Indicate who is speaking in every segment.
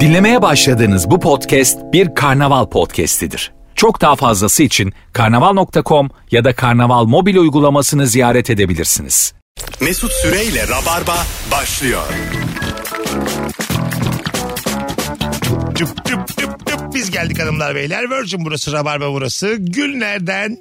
Speaker 1: Dinlemeye başladığınız bu podcast bir karnaval podcastidir. Çok daha fazlası için karnaval.com ya da karnaval mobil uygulamasını ziyaret edebilirsiniz.
Speaker 2: Mesut Süreyle Rabarba başlıyor.
Speaker 3: Tüp tüp tüp tüp biz geldik hanımlar beyler. Virgin burası, Rabarba burası. Günlerden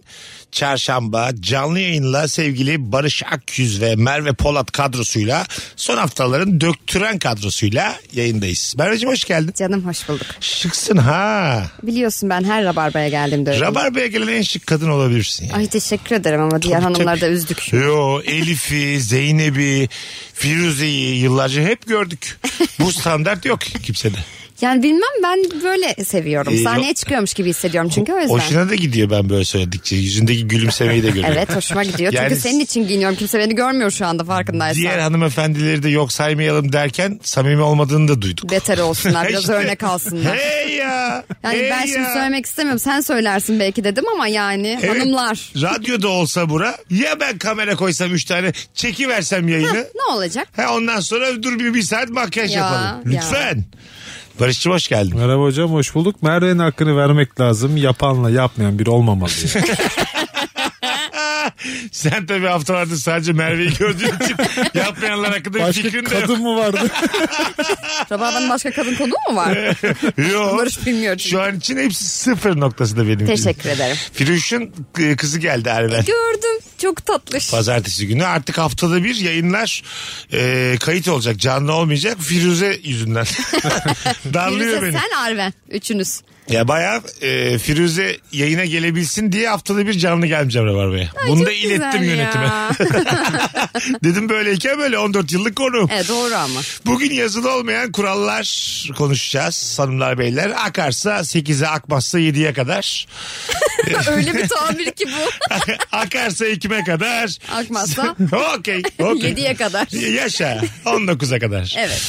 Speaker 3: çarşamba canlı yayınla sevgili Barış Akyüz ve Merve Polat kadrosuyla son haftaların döktüren kadrosuyla yayındayız. Merveciğim hoş geldin.
Speaker 4: Canım hoş bulduk.
Speaker 3: Şıksın ha.
Speaker 4: Biliyorsun ben her rabarbaya geldiğimde öyle.
Speaker 3: Rabarba'ya gelen en şık kadın olabilirsin. yani.
Speaker 4: Ay teşekkür ederim ama diğer
Speaker 3: Tabii,
Speaker 4: hanımlar da
Speaker 3: tabii.
Speaker 4: üzdük.
Speaker 3: Yo Elif'i, Zeynep'i, Firuze'yi yıllarca hep gördük. Bu standart yok kimsede.
Speaker 4: Yani bilmem ben böyle seviyorum.
Speaker 3: Ee,
Speaker 4: Sahneye
Speaker 3: yok.
Speaker 4: çıkıyormuş gibi hissediyorum çünkü o yüzden.
Speaker 3: Hoşuna da gidiyor ben böyle söyledikçe. Yüzündeki gülümsemeyi de görüyorum.
Speaker 4: Evet hoşuma gidiyor çünkü
Speaker 3: Yani-
Speaker 4: senin için giyiniyorum. Kimse beni görmüyor şu anda farkındaysan.
Speaker 3: Diğer hanımefendileri de yok saymayalım derken samimi olmadığını da duyduk.
Speaker 4: Beter olsunlar biraz
Speaker 3: İşte.
Speaker 4: örnek alsınlar.
Speaker 3: Hey ya.
Speaker 4: Yani
Speaker 3: hey
Speaker 4: ben
Speaker 3: ya.
Speaker 4: şimdi söylemek istemiyorum. Sen söylersin belki dedim ama yani
Speaker 3: Evet,
Speaker 4: hanımlar.
Speaker 3: Radyoda olsa bura ya ben kamera koysam 3 tane çekiversem yayını.
Speaker 4: Ne olacak?
Speaker 3: ha, ondan sonra dur bir, bir saat makyaj
Speaker 4: Ya,
Speaker 3: yapalım.
Speaker 4: ya.
Speaker 3: Lütfen. Barışçı hoş geldin.
Speaker 5: Merhaba hocam hoş bulduk. Merve'nin hakkını vermek lazım. Yapanla yapmayan biri olmamalı. yani.
Speaker 3: Sen tabii haftalarda sadece Merve'yi gördüğün için yapmayanlar hakkında bir
Speaker 5: Başka
Speaker 3: fikrin de yok.
Speaker 5: kadın mı vardı?
Speaker 4: Rabarbanın başka kadın konuğu mu var?
Speaker 3: Yok.
Speaker 4: Barış bilmiyor çünkü.
Speaker 3: Şu an için hepsi sıfır noktasında benim.
Speaker 4: Teşekkür ederim.
Speaker 3: Firuş'un e, kızı geldi Erben.
Speaker 4: Gördüm. Çok tatlış.
Speaker 3: Pazartesi günü artık haftada bir yayınlar e, kayıt olacak canlı olmayacak Firuze yüzünden. Darlıyor
Speaker 4: Firuze
Speaker 3: beni.
Speaker 4: sen Arven. Üçünüz.
Speaker 3: Ya bayağı e, Firuze yayına gelebilsin diye haftada bir canlı gelmeyeceğim Rabarba'ya. Bunu da
Speaker 4: Çok güzel
Speaker 3: ilettim
Speaker 4: ya.
Speaker 3: yönetime. Dedim böyleyken böyle 14 yıllık konu.
Speaker 4: evet doğru ama.
Speaker 3: Bugün yazılı olmayan kurallar konuşacağız hanımlar beyler. Akarsa 8'e akmazsa 7'ye kadar.
Speaker 4: Öyle bir tabir ki bu.
Speaker 3: Akarsa 2'me kadar.
Speaker 4: Akmazsa?
Speaker 3: Okey. okey.
Speaker 4: 7'ye kadar.
Speaker 3: Yaşa. 19'a kadar.
Speaker 4: Evet.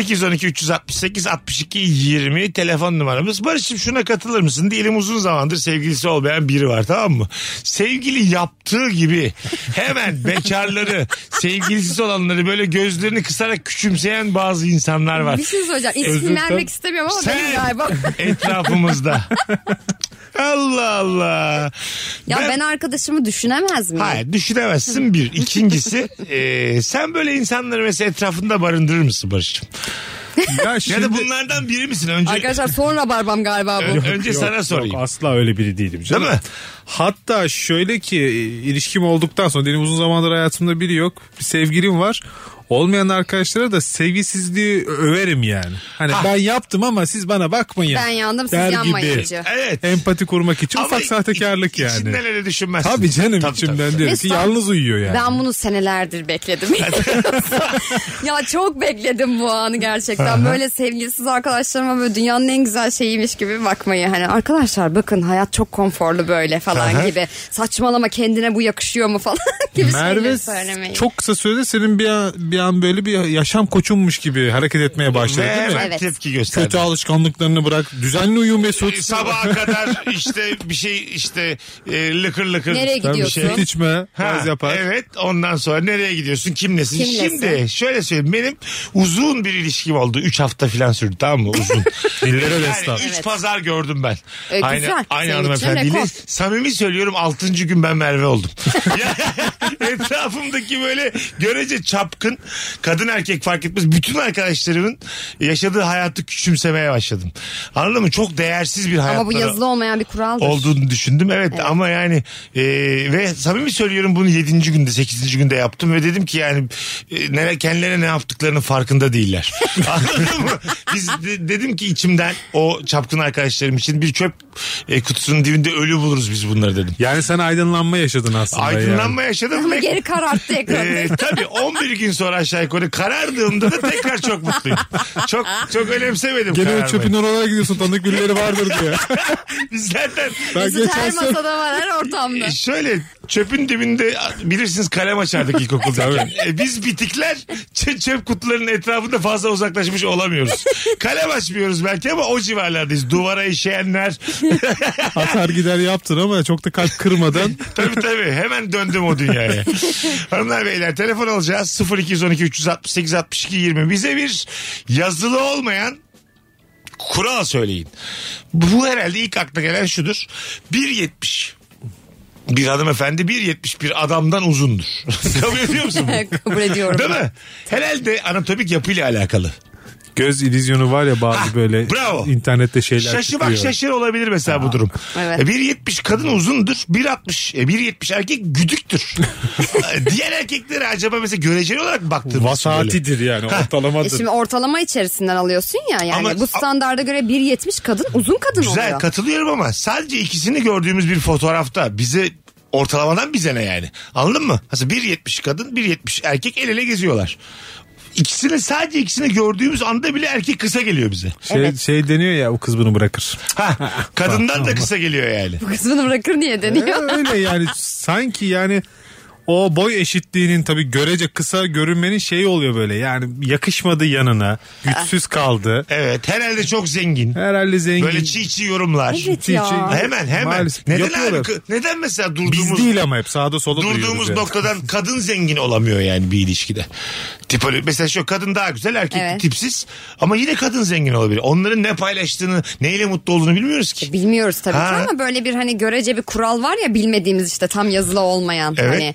Speaker 3: 0212 368 62 20 telefon numaramız. Barış'ım şuna katılır mısın? Diyelim uzun zamandır sevgilisi olmayan biri var tamam mı? Sevgili yaptığı gibi hemen bekarları, sevgilisiz olanları böyle gözlerini kısarak küçümseyen bazı insanlar var.
Speaker 4: Bir şey söyleyeceğim. İsim
Speaker 3: Özür-
Speaker 4: vermek istemiyorum ama
Speaker 3: Sen
Speaker 4: benim galiba.
Speaker 3: etrafımızda. Allah Allah.
Speaker 4: Ya ben, arkadaşımı düşünemez miyim?
Speaker 3: Hayır düşünemezsin bir. İkincisi e, sen böyle insanları mesela etrafında barındırır mısın Barış'cığım?
Speaker 5: ya
Speaker 3: Ya
Speaker 5: şimdi...
Speaker 3: da bunlardan biri misin? Önce
Speaker 4: Arkadaşlar sonra barbam galiba bu.
Speaker 3: Ö- önce
Speaker 5: Yok,
Speaker 3: sana
Speaker 5: yok,
Speaker 3: sorayım.
Speaker 5: asla öyle biri değilim canım.
Speaker 3: Değil mi?
Speaker 5: Hatta şöyle ki e, ilişkim olduktan sonra benim uzun zamandır hayatımda biri yok. Bir sevgilim var. Olmayan arkadaşlara da sevgisizliği överim yani. Hani
Speaker 3: Ah.
Speaker 5: ben yaptım ama siz bana bakmayın.
Speaker 4: Ben yandım siz
Speaker 5: der
Speaker 4: yanmayın
Speaker 5: gibi.
Speaker 4: hacı.
Speaker 3: evet.
Speaker 5: Empati kurmak için
Speaker 3: Ama
Speaker 5: ufak sahtekarlık
Speaker 3: iç-
Speaker 5: yani.
Speaker 3: İçinden öyle düşünmezsin.
Speaker 5: Tabii canım
Speaker 3: Tabii,
Speaker 5: içimden
Speaker 3: tabii,
Speaker 5: diyorum
Speaker 4: Mesut,
Speaker 5: ki yalnız uyuyor yani.
Speaker 4: Ben bunu senelerdir bekledim. ya çok bekledim bu anı gerçekten. Böyle sevgilisiz arkadaşlarıma böyle dünyanın en güzel şeyiymiş gibi bakmayı. Hani arkadaşlar bakın hayat çok konforlu böyle falan gibi. Saçmalama kendine bu yakışıyor mu falan gibi şeyleri
Speaker 5: Merve
Speaker 4: söylemeyi.
Speaker 5: çok kısa sürede senin bir an, bir an böyle bir yaşam koçunmuş gibi hareket etmeye başladı
Speaker 3: Ve
Speaker 5: değil mi?
Speaker 3: hemen
Speaker 4: Evet.
Speaker 3: tepki gösterdi.
Speaker 5: Kötü alışkanlıklarını bırak. Düzenli uyu Mesut.
Speaker 3: Sabaha kadar işte bir şey işte e, lıkır lıkır.
Speaker 4: Nereye
Speaker 3: bir
Speaker 4: gidiyorsun?
Speaker 5: Süt içme.
Speaker 3: Ha,
Speaker 5: Gaz yapar.
Speaker 3: Evet ondan sonra nereye gidiyorsun kimlesin?
Speaker 4: Kimlesin?
Speaker 3: Şimdi şöyle söyleyeyim benim uzun bir ilişkim oldu. 3 hafta falan sürdü tamam mı uzun.
Speaker 5: Dillere
Speaker 3: yani
Speaker 5: destan.
Speaker 3: 3
Speaker 4: Evet.
Speaker 3: pazar gördüm ben.
Speaker 4: E, güzel.
Speaker 3: aynı aynı
Speaker 4: Senin için
Speaker 3: hanımefendiyle.
Speaker 4: rekor.
Speaker 3: Samimi söylüyorum 6. gün ben Merve oldum. Ya, Etrafımdaki böyle görece çapkın kadın erkek fark etmez. Bütün arkadaşlarımın yaşadığı hayatı küçümsemeye başladım. Anladın mı? Çok değersiz bir hayat
Speaker 4: Ama bu yazılı olmayan bir kuraldır.
Speaker 3: olduğunu düşündüm. Evet, ama yani e, ve samimi söylüyorum bunu 7. günde 8. günde yaptım ve dedim ki yani e, nere, kendilerine ne yaptıklarının farkında değiller. Anladın mı? Biz de- dedim ki içimden o çapkın arkadaşlarım için bir çöp e, kutusunun dibinde ölü buluruz biz bunları dedim.
Speaker 5: Yani sen aydınlanma yaşadın aslında.
Speaker 3: Aydınlanma yaşadım
Speaker 4: Ama
Speaker 3: ve
Speaker 4: geri kararttı
Speaker 3: e,
Speaker 5: Ee,
Speaker 4: ekranı.
Speaker 3: tabii 11 gün sonra aşağı yukarı karardığımda da tekrar çok mutluyum. Çok çok önemsemedim
Speaker 5: Yani. Gene o
Speaker 3: kararmayı.
Speaker 5: çöpün oralara gidiyorsun tanıdık birileri vardır diye.
Speaker 3: Biz zaten
Speaker 5: Ben
Speaker 4: Mesut E,
Speaker 5: geçen
Speaker 4: her
Speaker 5: sene
Speaker 4: masada var her ortamda.
Speaker 3: E, Şöyle çöpün dibinde bilirsiniz kalem açardık ilkokulda. e, biz bitikler çö- çöp kutularının etrafında fazla uzaklaşmış olamıyoruz. Kalem açmıyoruz belki ama o civarlardayız. Duvara işeyenler.
Speaker 5: Atar gider yaptın ama çok da kalp kırmadan.
Speaker 3: tabii tabii hemen döndüm o dünyaya. Hanımlar beyler telefon alacağız 0212 368 62 20 bize bir yazılı olmayan kural söyleyin. Bu herhalde ilk akla gelen şudur. 1.70 bir hanımefendi 1.70 bir adamdan uzundur. Kabul ediyor musun? bunu?
Speaker 4: E, Kabul ediyorum.
Speaker 3: Değil mi? Herhalde anatomik yapıyla alakalı.
Speaker 5: Göz ilizyonu var ya bazı böyle
Speaker 3: bravo.
Speaker 5: internette şeyler
Speaker 3: Şaşı bak
Speaker 5: çıkıyor.
Speaker 3: şaşır olabilir mesela bu durum.
Speaker 4: Evet.
Speaker 3: E, 1.70 kadın uzundur. 1.60 e, 1.70 erkek güdüktür. E, Diğer erkeklere acaba mesela göreceli olarak baktığımız böyle.
Speaker 5: Vasatidir yani
Speaker 4: E
Speaker 5: ortalamadır.
Speaker 4: şimdi ortalama içerisinden alıyorsun ya yani
Speaker 3: Ama-
Speaker 4: bu standarda göre 1.70 kadın uzun kadın
Speaker 3: Güzel
Speaker 4: oluyor.
Speaker 3: katılıyorum ama sadece ikisini gördüğümüz bir fotoğrafta bize ortalamadan bize ne yani? Anladın mı? Mesela 1.70 kadın 1.70 erkek el ele geziyorlar. İkisini sadece ikisini gördüğümüz anda bile erkek kısa geliyor bize.
Speaker 5: Şey, şey deniyor ya o kız bunu bırakır.
Speaker 3: Ha, kadından da kısa geliyor yani.
Speaker 4: Bu kısmını bırakır niye
Speaker 5: Ee,
Speaker 4: deniyor.
Speaker 5: Öyle yani sanki yani o boy eşitliğinin tabii görece kısa görünmenin şeyi oluyor böyle yani yakışmadı yanına güçsüz kaldı.
Speaker 3: Evet herhalde çok zengin.
Speaker 5: Herhalde zengin.
Speaker 3: Böyle çiğ çiğ yorumlar.
Speaker 4: Evet
Speaker 5: Çiğ
Speaker 4: ya.
Speaker 5: çiğ.
Speaker 3: Hemen hemen.
Speaker 5: Maalesef
Speaker 3: neden
Speaker 5: yapıyorlar.
Speaker 3: abi? Neden mesela
Speaker 5: Biz
Speaker 3: durduğumuz
Speaker 5: değil ama hep sağda sola
Speaker 3: durduğumuz
Speaker 5: duyuyoruz yani.
Speaker 3: noktadan kadın zengin olamıyor yani bir ilişkide. Tipolo mesela şu kadın daha güzel, erkek
Speaker 4: Evet.
Speaker 3: tipsiz ama yine kadın zengin olabilir. Onların ne paylaştığını, neyle mutlu olduğunu bilmiyoruz ki.
Speaker 4: Bilmiyoruz tabii
Speaker 3: Ha.
Speaker 4: ki ama böyle bir hani görece bir kural var ya bilmediğimiz işte tam yazılı olmayan.
Speaker 3: Evet.
Speaker 4: Hani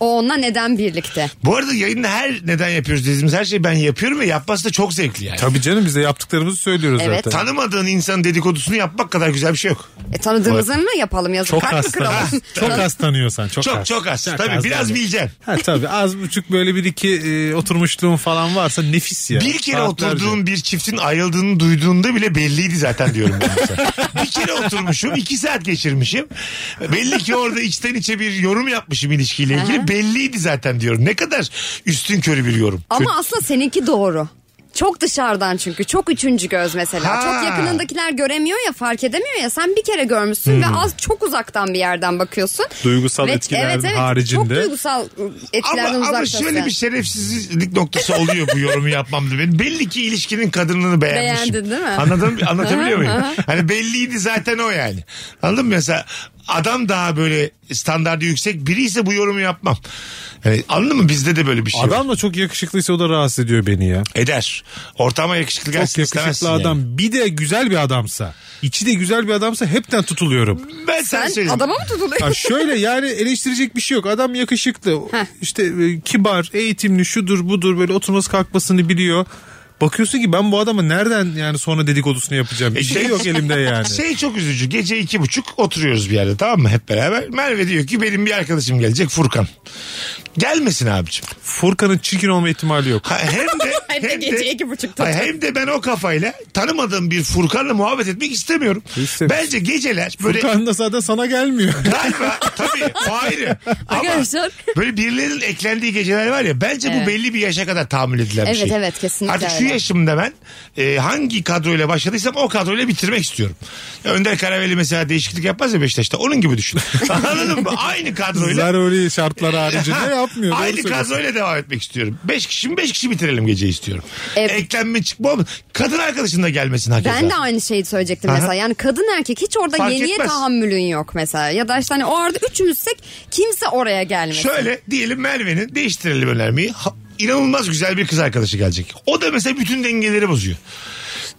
Speaker 4: o onunla neden birlikte?
Speaker 3: Bu arada yayında her neden yapıyoruz dediğimiz her şeyi ben yapıyorum ve yapması da çok zevkli yani.
Speaker 5: Tabii canım biz de yaptıklarımızı söylüyoruz
Speaker 4: Evet.
Speaker 5: zaten.
Speaker 3: Tanımadığın insanın dedikodusunu yapmak kadar güzel bir şey yok.
Speaker 4: E tanıdığımızı mı yapalım yazık?
Speaker 5: Çok
Speaker 4: Kalp mi
Speaker 5: az
Speaker 4: kıralım?
Speaker 5: tanı- Çok az tanıyorsan. Çok,
Speaker 3: Çok
Speaker 5: az.
Speaker 3: çok az. Tabii
Speaker 5: az
Speaker 3: biraz
Speaker 5: yani.
Speaker 3: bileceksin.
Speaker 5: Ha tabii az buçuk böyle bir iki e, oturmuşluğun falan varsa nefis ya.
Speaker 3: Bir kere
Speaker 5: Saatlerce.
Speaker 3: oturduğun bir çiftin ayrıldığını duyduğunda bile belliydi zaten diyorum ben mesela. bir kere oturmuşum iki saat geçirmişim. Belli ki orada içten içe bir yorum yapmışım ilişkiyle ilgili. belliydi zaten diyorum. Ne kadar üstün körü bir yorum.
Speaker 4: Ama aslında seninki doğru. Çok dışarıdan çünkü çok üçüncü göz mesela.
Speaker 3: Ha.
Speaker 4: Çok yakınındakiler göremiyor ya fark edemiyor ya. Sen bir kere görmüşsün
Speaker 3: Hmm.
Speaker 4: ve az çok uzaktan bir yerden bakıyorsun.
Speaker 5: Duygusal
Speaker 4: Ve-
Speaker 5: etkiler
Speaker 4: evet, evet, Çok
Speaker 5: haricinde.
Speaker 4: duygusal
Speaker 3: Ama,
Speaker 4: etkilerden
Speaker 3: ama
Speaker 4: uzaktasın.
Speaker 3: şöyle bir şey şerefsizlik noktası oluyor bu yorumu yapmamda benim. Belli ki ilişkinin kadınını beğenmişim.
Speaker 4: Beğendin değil mi?
Speaker 3: Anladın mı? Anlatabiliyor muyum? hani belliydi zaten o yani. Anladın mı? Mesela adam daha böyle standardı yüksek biri ise bu yorumu yapmam. Yani anladın mı? Bizde de böyle bir şey var.
Speaker 5: Adam da çok yakışıklıysa o da rahatsız ediyor beni ya.
Speaker 3: Eder. Ortama yakışıklı
Speaker 5: Çok
Speaker 3: gelsin istemezsin
Speaker 5: yakışıklı adam.
Speaker 3: yani.
Speaker 5: Bir de güzel bir adamsa. içi de güzel bir adamsa hepten tutuluyorum.
Speaker 3: Ben sen,
Speaker 4: Sen
Speaker 3: söyleyeyim.
Speaker 4: adama mı tutuluyorsun?
Speaker 5: Ya şöyle yani eleştirecek bir şey yok. Adam yakışıklı.
Speaker 4: Heh.
Speaker 5: İşte e, kibar, eğitimli, şudur budur böyle oturması kalkmasını biliyor. Bakıyorsun ki ben bu adamı nereden yani sonra dedikodusunu yapacağım. Bir şey yok elimde yani.
Speaker 3: E Şey çok üzücü. Gece iki buçuk oturuyoruz bir yerde tamam mı hep beraber. Merve diyor ki benim bir arkadaşım gelecek Furkan. Gelmesin abicim.
Speaker 5: Furkan'ın çirkin olma ihtimali yok.
Speaker 3: Ha, hem de,
Speaker 4: Hem de Hani gece iki buçukta.
Speaker 3: Hayır, hem de ben o kafayla tanımadığım bir Furkan'la muhabbet etmek istemiyorum.
Speaker 5: İstemiyorum.
Speaker 3: Bence geceler böyle
Speaker 5: Furkan da zaten sana gelmiyor.
Speaker 3: galiba tabii o ayrı. Ama
Speaker 4: Arkadaşlar.
Speaker 3: böyle birilerinin eklendiği geceler var ya bence bu
Speaker 4: Evet.
Speaker 3: belli bir yaşa kadar tahammül edilen bir
Speaker 4: Evet,
Speaker 3: şey.
Speaker 4: evet, kesinlikle
Speaker 3: Artık şu
Speaker 4: öyle.
Speaker 3: yaşımda ben e, hangi kadroyla başladıysam o kadroyla bitirmek istiyorum. Ya Önder Karaveli mesela değişiklik yapmaz ya Beşiktaş'ta onun gibi düşün. Anladın mı? Aynı kadroyla.
Speaker 5: Kızlar öyle şartlar haricinde
Speaker 3: Ha,
Speaker 5: yapmıyor. Doğru
Speaker 3: Aynı
Speaker 5: söylüyorsun.
Speaker 3: kadroyla devam etmek istiyorum. Beş kişi mi beş kişi bitirelim geceyi istiyorum.
Speaker 4: Evet.
Speaker 3: Eklenme çıkma olmaz. Kadın arkadaşın da gelmesin hakeza.
Speaker 4: Ben de aynı şeyi söyleyecektim
Speaker 3: Aha.
Speaker 4: mesela. Yani kadın erkek hiç orada
Speaker 3: Fark
Speaker 4: yeniye
Speaker 3: etmez.
Speaker 4: tahammülün yok mesela. Ya da işte hani o arada üçümüzsek kimse oraya gelmesin.
Speaker 3: Şöyle diyelim Merve'nin değiştirelim önermeyi. Ha- inanılmaz güzel bir kız arkadaşı gelecek. O da mesela bütün dengeleri bozuyor.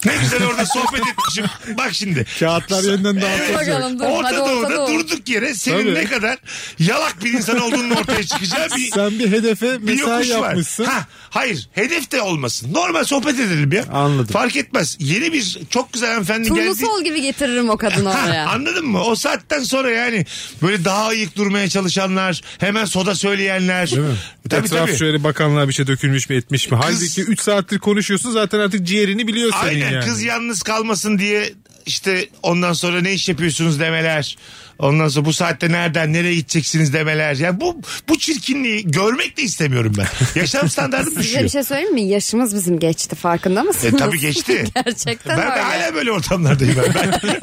Speaker 3: Ne güzel orada sohbet etmişim. Bak şimdi.
Speaker 5: Kağıtlar yeniden
Speaker 4: Evet.
Speaker 5: dağıtılacak.
Speaker 4: Bakalım dur, hadi
Speaker 3: Orta
Speaker 4: Orta
Speaker 3: Doğu'da
Speaker 4: Doğu.
Speaker 3: durduk yere senin
Speaker 5: Tabii.
Speaker 3: ne kadar yalak bir insan olduğunun ortaya çıkacağı bir,
Speaker 5: Sen bir hedefe
Speaker 3: bir
Speaker 5: mesai
Speaker 3: yokuş
Speaker 5: yapmışsın.
Speaker 3: var. Ha, hayır hedef de olmasın. Normal sohbet edelim ya.
Speaker 5: Anladım.
Speaker 3: Fark etmez. Yeni bir çok güzel hanımefendi geldi.
Speaker 4: Turnusol gibi getiririm o kadını
Speaker 3: Ha,
Speaker 4: oraya.
Speaker 3: anladın mı? O saatten sonra yani böyle daha ayık durmaya çalışanlar, hemen soda söyleyenler.
Speaker 5: Değil mi?
Speaker 3: Tabii
Speaker 5: Etraf
Speaker 3: tabii.
Speaker 5: şöyle bakanlığa bir şey dökülmüş mü etmiş mi? Halbuki 3 saattir konuşuyorsun zaten artık ciğerini biliyor senin
Speaker 3: Aynen
Speaker 5: yani.
Speaker 3: kız yalnız kalmasın diye işte ondan sonra ne iş yapıyorsunuz demeler. Ondan sonra bu saatte nereden nereye gideceksiniz demeler. Yani bu bu çirkinliği görmek de istemiyorum ben. Yaşam standartım
Speaker 4: Size bir
Speaker 3: düşüyor.
Speaker 4: şey söyleyeyim mi? Yaşımız bizim geçti farkında mısınız?
Speaker 3: E, tabii geçti.
Speaker 4: Gerçekten
Speaker 3: ben, ben
Speaker 4: öyle.
Speaker 3: hala böyle ortamlardayım ben. Ben-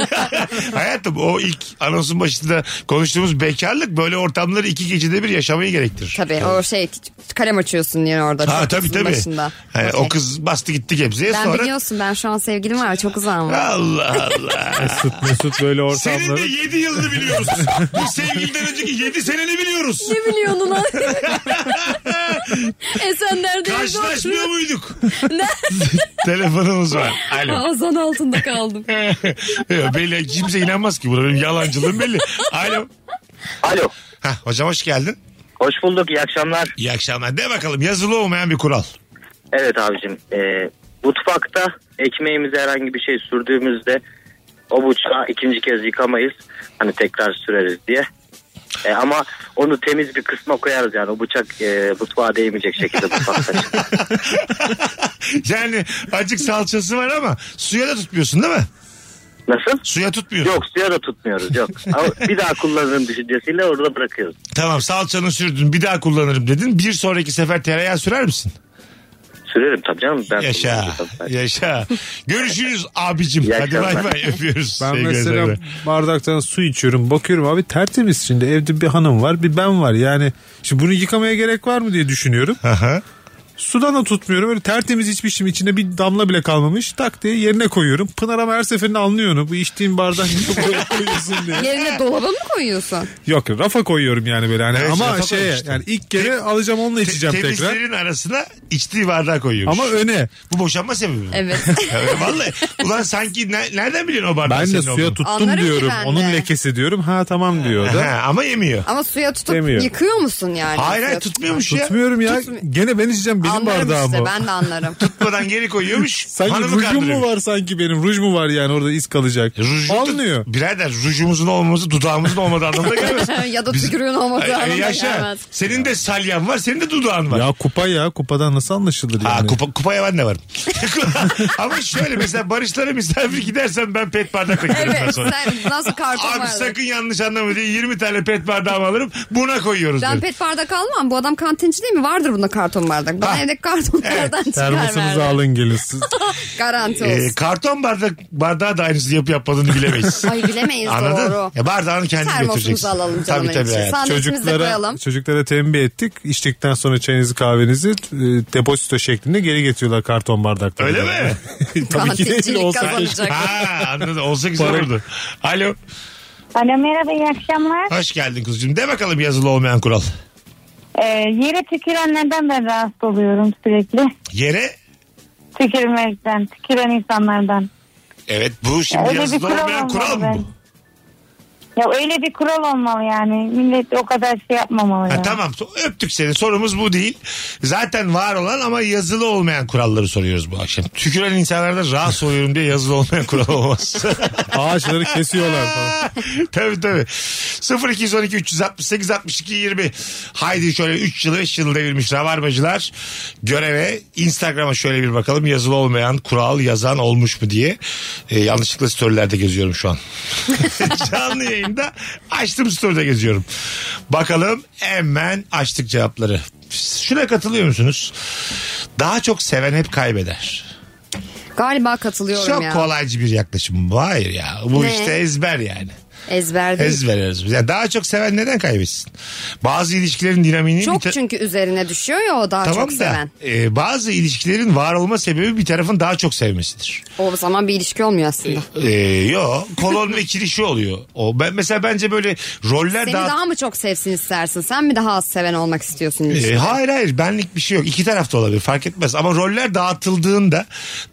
Speaker 3: Hayatım o ilk anonsun başında konuştuğumuz bekarlık böyle ortamları iki gecede bir yaşamayı gerektirir.
Speaker 4: Tabii o şey kalem açıyorsun yani orada.
Speaker 3: Ha
Speaker 4: çok
Speaker 3: tabii
Speaker 4: kızın
Speaker 3: tabii.
Speaker 4: başında.
Speaker 3: Hani
Speaker 4: Okey.
Speaker 3: O kız bastı gitti gebzeye
Speaker 4: Ben
Speaker 3: sonra.
Speaker 4: biliyorsun ben şu an sevgilim var çok uzağım var.
Speaker 3: Allah Allah.
Speaker 5: Mesut, Mesut böyle
Speaker 3: Senin de
Speaker 5: ortamları.
Speaker 3: 7 yılını biliyoruz. Bu sevgiliden önceki 7 seneni biliyoruz.
Speaker 4: Ne biliyorsun lan? E, Esenler'de
Speaker 3: Karşılaşmıyor muyduk? Telefonumuz var. Alo.
Speaker 4: Ağzan altında kaldım.
Speaker 3: Yo, belli kimse inanmaz ki buna benim yalancılığım belli. Alo.
Speaker 6: Alo.
Speaker 3: Hah, hocam hoş geldin.
Speaker 6: Hoş bulduk. iyi akşamlar.
Speaker 3: İyi akşamlar. De bakalım yazılı olmayan bir kural.
Speaker 6: Evet abicim. E, mutfakta ekmeğimize herhangi bir şey sürdüğümüzde o bıçağı ikinci kez yıkamayız. Hani tekrar süreriz diye. E, ama onu temiz bir kısma koyarız yani. O bıçak e, mutfağa değmeyecek şekilde mutfakta.
Speaker 3: Yani acık salçası var ama suya da tutmuyorsun değil mi?
Speaker 6: Nasıl?
Speaker 3: Suya tutmuyorsun.
Speaker 6: Yok suya da tutmuyoruz yok. Ama bir daha kullanırım düşüncesiyle orada bırakıyoruz.
Speaker 3: Tamam salçanı sürdün bir daha kullanırım dedin. Bir sonraki sefer tereyağı sürer misin?
Speaker 6: Sürerim tabii canım. Ben
Speaker 3: Yaşa. Yaşa. Görüşürüz abicim.
Speaker 6: İyi
Speaker 3: Hadi bay
Speaker 6: akşamlar.
Speaker 3: bay öpüyoruz.
Speaker 5: Ben
Speaker 3: Sevgili
Speaker 5: mesela
Speaker 3: Zeynep.
Speaker 5: bardaktan su içiyorum bakıyorum abi tertemiz şimdi evde bir hanım var bir ben var yani şimdi bunu yıkamaya gerek var mı diye düşünüyorum.
Speaker 3: Aha.
Speaker 5: Sudan da tutmuyorum öyle tertemiz içmişim içinde bir damla bile kalmamış tak diye yerine koyuyorum. Pınar ama her seferinde anlıyor onu bu içtiğim bardak koy- koyuyorsun diye.
Speaker 4: Yerine dolaba mı koyuyorsun?
Speaker 5: Yok rafa koyuyorum yani böyle hani
Speaker 3: Evet, rafa
Speaker 5: ama şeye
Speaker 3: koymuştum.
Speaker 5: yani ilk kere alacağım onunla içeceğim
Speaker 3: Te-
Speaker 5: tekrar.
Speaker 3: temizlerin arasına içtiği bardağı koyuyormuş.
Speaker 5: Ama öne.
Speaker 3: Bu boşanma sebebi mi?
Speaker 4: Evet.
Speaker 3: Ya Vallahi. Ulan sanki ne- nereden biliyorsun o bardağı
Speaker 5: Ben
Speaker 3: senin
Speaker 5: de suya
Speaker 3: olduğunu?
Speaker 5: tuttum
Speaker 4: Anlarım ki
Speaker 5: diyorum.
Speaker 4: ben de.
Speaker 5: Onun lekesi diyorum. Ha tamam diyor da.
Speaker 3: Ha, ama yemiyor.
Speaker 4: Ama suya tutup
Speaker 5: Demiyor.
Speaker 4: yıkıyor musun yani?
Speaker 3: Hayır hayır
Speaker 4: Suya
Speaker 3: tutmuyormuş ya.
Speaker 5: Tutmuyorum ya. Gene ben içeceğim benim
Speaker 4: Anlarım
Speaker 5: bardağım
Speaker 4: işte
Speaker 5: o.
Speaker 4: ben de anlarım.
Speaker 3: Tutmadan geri koyuyormuş.
Speaker 5: Sanki
Speaker 3: Hanımı E,
Speaker 5: rujum mu
Speaker 3: kandırıyormuş.
Speaker 5: var sanki benim? Ruj mu var yani orada iz kalacak?
Speaker 3: Ruju da-
Speaker 5: Almıyor.
Speaker 3: birader rujumuzun olmaması dudağımızın olmadığı anlamına gelmez.
Speaker 4: ya da tükürüğün olmadığı
Speaker 3: Ay- ay,
Speaker 4: anlamına
Speaker 3: yaşa.
Speaker 4: gelmez.
Speaker 3: Senin de salyan var, senin de dudağın var.
Speaker 5: Ya kupa ya. Kupadan nasıl anlaşılır
Speaker 3: Ha,
Speaker 5: yani?
Speaker 3: kupa, kupaya ben de varım. Ama şöyle mesela Barışlara misafir gidersen ben pet bardak beklerim ben
Speaker 4: Evet
Speaker 3: sonra.
Speaker 4: sen nasıl karton
Speaker 3: Abi
Speaker 4: var?
Speaker 3: sakın yanlış anlama diye 20 tane pet bardağımı alırım buna koyuyoruz
Speaker 4: Ben
Speaker 3: derim.
Speaker 4: pet bardak almam. Bu adam kantinci değil mi? Vardır bunda karton bardak. Bana
Speaker 3: Ha.
Speaker 4: evdeki kartonlardan çıkar
Speaker 5: Termosunuzu
Speaker 4: verdi.
Speaker 5: alın gelin siz.
Speaker 4: Garanti olsun.
Speaker 3: Ee, karton bardak bardağı da aynısı yapıp yapmadığını bilemeyiz.
Speaker 4: Ay bilemeyiz
Speaker 3: Anladın?
Speaker 4: doğru.
Speaker 3: Ya bardağını kendin
Speaker 4: Termosumuzu
Speaker 3: götüreceksin.
Speaker 4: alalım canım.
Speaker 3: Tabii tabii. hayatım.
Speaker 4: Sandviçimizi de koyalım.
Speaker 5: Çocuklara, çocuklara tembih ettik. İçtikten sonra çayınızı kahvenizi e, depozito şeklinde geri getiriyorlar karton bardakta.
Speaker 3: Öyle mi?
Speaker 5: Tabii ki değil.
Speaker 4: Kantincilik
Speaker 5: Olsa keşke.
Speaker 4: kazanacak.
Speaker 3: Ha anladım. Olsa güzel olurdu. Alo.
Speaker 7: Alo merhaba iyi akşamlar.
Speaker 3: Hoş geldin kuzucuğum. De bakalım yazılı olmayan kural.
Speaker 7: Ee, yere tükürenlerden ben rahatsız oluyorum sürekli.
Speaker 3: Yere
Speaker 7: Tükürmekten, tüküren insanlardan.
Speaker 3: Evet bu şimdi
Speaker 7: Öyle bir
Speaker 3: yazılı
Speaker 7: kural
Speaker 3: olmayan kural mı
Speaker 7: olmalı
Speaker 3: bu?
Speaker 7: Ya öyle bir kural olmalı yani. Millet o kadar şey yapmamalı.
Speaker 3: Ha,
Speaker 7: ya.
Speaker 3: tamam öptük seni sorumuz bu değil. Zaten var olan ama yazılı olmayan kuralları soruyoruz bu akşam. Tüküren insanlardan rahatsız oluyorum diye yazılı olmayan kural olmaz.
Speaker 5: Ağaçları kesiyorlar falan.
Speaker 3: tabii tabii. 0212 368 62 20. Haydi şöyle 3 yılı 5 yılı devirmiş rabarbacılar. Göreve Instagram'a şöyle bir bakalım yazılı olmayan kural yazan olmuş mu diye. Ee, yanlışlıkla storylerde geziyorum şu an. Canlı yayında açtım story'de geziyorum. Bakalım hemen açtık cevapları. Şuna katılıyor musunuz? Daha çok seven hep kaybeder.
Speaker 4: Galiba katılıyorum
Speaker 3: Çok
Speaker 4: ya.
Speaker 3: kolaycı bir yaklaşım. bu. Hayır ya. Bu
Speaker 4: Ne?
Speaker 3: işte ezber yani.
Speaker 4: Ezber değil.
Speaker 3: Ez veririz. Yani daha çok seven neden kaybetsin? Bazı ilişkilerin dinamiğini...
Speaker 4: Çok
Speaker 3: bir ta-
Speaker 4: çünkü üzerine düşüyor ya o daha
Speaker 3: Tamam
Speaker 4: çok
Speaker 3: da
Speaker 4: seven.
Speaker 3: e, bazı ilişkilerin var olma sebebi bir tarafın daha çok sevmesidir.
Speaker 4: O zaman bir ilişki olmuyor aslında.
Speaker 3: E, yo kolon ve kirişi oluyor. O ben mesela bence böyle roller
Speaker 4: Seni
Speaker 3: daha...
Speaker 4: daha mı çok sevsin istersin? Sen mi daha az seven olmak istiyorsun?
Speaker 3: E,
Speaker 4: ilişkide?
Speaker 3: hayır hayır benlik bir şey yok. İki tarafta olabilir fark etmez. Ama roller dağıtıldığında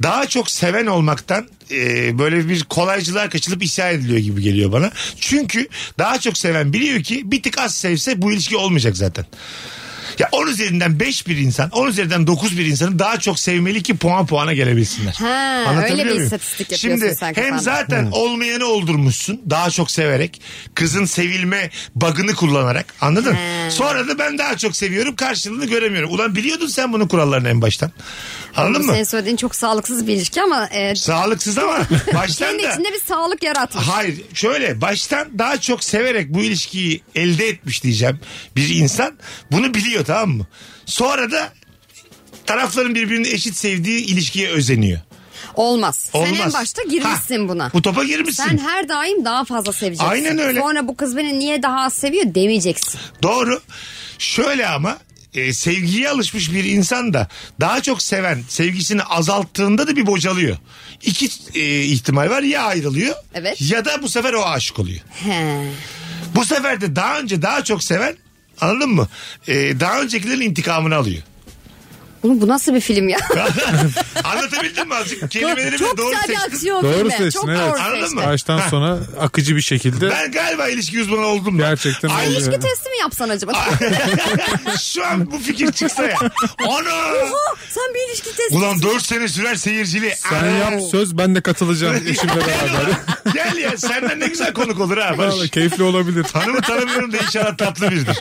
Speaker 3: daha çok seven olmaktan e, böyle bir kolaycılığa kaçılıp isyan ediliyor gibi geliyor bana. Çünkü daha çok seven biliyor ki bir tık az sevse bu ilişki olmayacak zaten. Ya 10 üzerinden 5 bir insan, 10 üzerinden 9 bir insanı daha çok sevmeli ki puan puana gelebilsinler.
Speaker 4: Ha,
Speaker 3: Anlatabiliyor
Speaker 4: öyle bir
Speaker 3: muyum?
Speaker 4: istatistik yapıyorsun
Speaker 3: Şimdi
Speaker 4: sen
Speaker 3: hem
Speaker 4: kafanda.
Speaker 3: zaten olmayanı oldurmuşsun daha çok severek. Kızın sevilme bagını kullanarak. Anladın? Sonra da ben daha çok seviyorum karşılığını göremiyorum. Ulan biliyordun sen bunun kurallarını en baştan. Anladın mı?
Speaker 4: Senin söylediğin çok sağlıksız bir ilişki ama e,
Speaker 3: Sağlıksız ama baştan
Speaker 4: kendi
Speaker 3: da...
Speaker 4: içinde bir sağlık yaratmış.
Speaker 3: Hayır şöyle baştan daha çok severek bu ilişkiyi elde etmiş diyeceğim bir insan bunu biliyor tamam mı? Sonra da tarafların birbirini eşit sevdiği ilişkiye özeniyor.
Speaker 4: Olmaz.
Speaker 3: Olmaz.
Speaker 4: Sen en başta girmişsin
Speaker 3: Ha,
Speaker 4: buna.
Speaker 3: Bu topa girmişsin.
Speaker 4: Sen her daim daha fazla seveceksin.
Speaker 3: Aynen öyle.
Speaker 4: Sonra bu kız beni niye daha az seviyor demeyeceksin.
Speaker 3: Doğru. Şöyle ama e, sevgiye alışmış bir insan da daha çok seven sevgisini azalttığında da bir bocalıyor. İki e, ihtimal var ya ayrılıyor
Speaker 4: Evet.
Speaker 3: ya da bu sefer o aşık oluyor.
Speaker 4: He.
Speaker 3: Bu sefer de daha önce daha çok seven anladın mı? E, daha öncekilerin intikamını alıyor.
Speaker 4: Oğlum bu nasıl bir film ya?
Speaker 3: Anlatabildim mi azıcık? Kelimelerimi
Speaker 4: çok çok
Speaker 3: doğru
Speaker 4: güzel bir
Speaker 3: seçtim.
Speaker 4: aksiyon
Speaker 5: Doğru
Speaker 4: filmi.
Speaker 5: seçtin,
Speaker 4: çok
Speaker 5: evet.
Speaker 4: doğru
Speaker 3: Anladın
Speaker 4: seçtin.
Speaker 3: mı?
Speaker 5: Baştan sona akıcı bir şekilde
Speaker 3: Ben galiba ilişki uzmanı oldum. ben.
Speaker 5: Gerçekten
Speaker 3: Ay,
Speaker 5: oldu.
Speaker 4: İlişki testi mi yapsan acaba?
Speaker 3: Şu an bu fikir çıksa ya. Onu.
Speaker 4: Sen bir ilişki testi
Speaker 3: Ulan 4 sene sürer seyirciliği.
Speaker 5: sen
Speaker 3: Aa.
Speaker 5: yap söz ben de katılacağım eşimle beraber.
Speaker 3: Gel ya senden ne güzel konuk olur ha Barış.
Speaker 5: Vallahi keyifli olabilir.
Speaker 3: Hanımı tanımıyorum da inşallah tatlı biridir.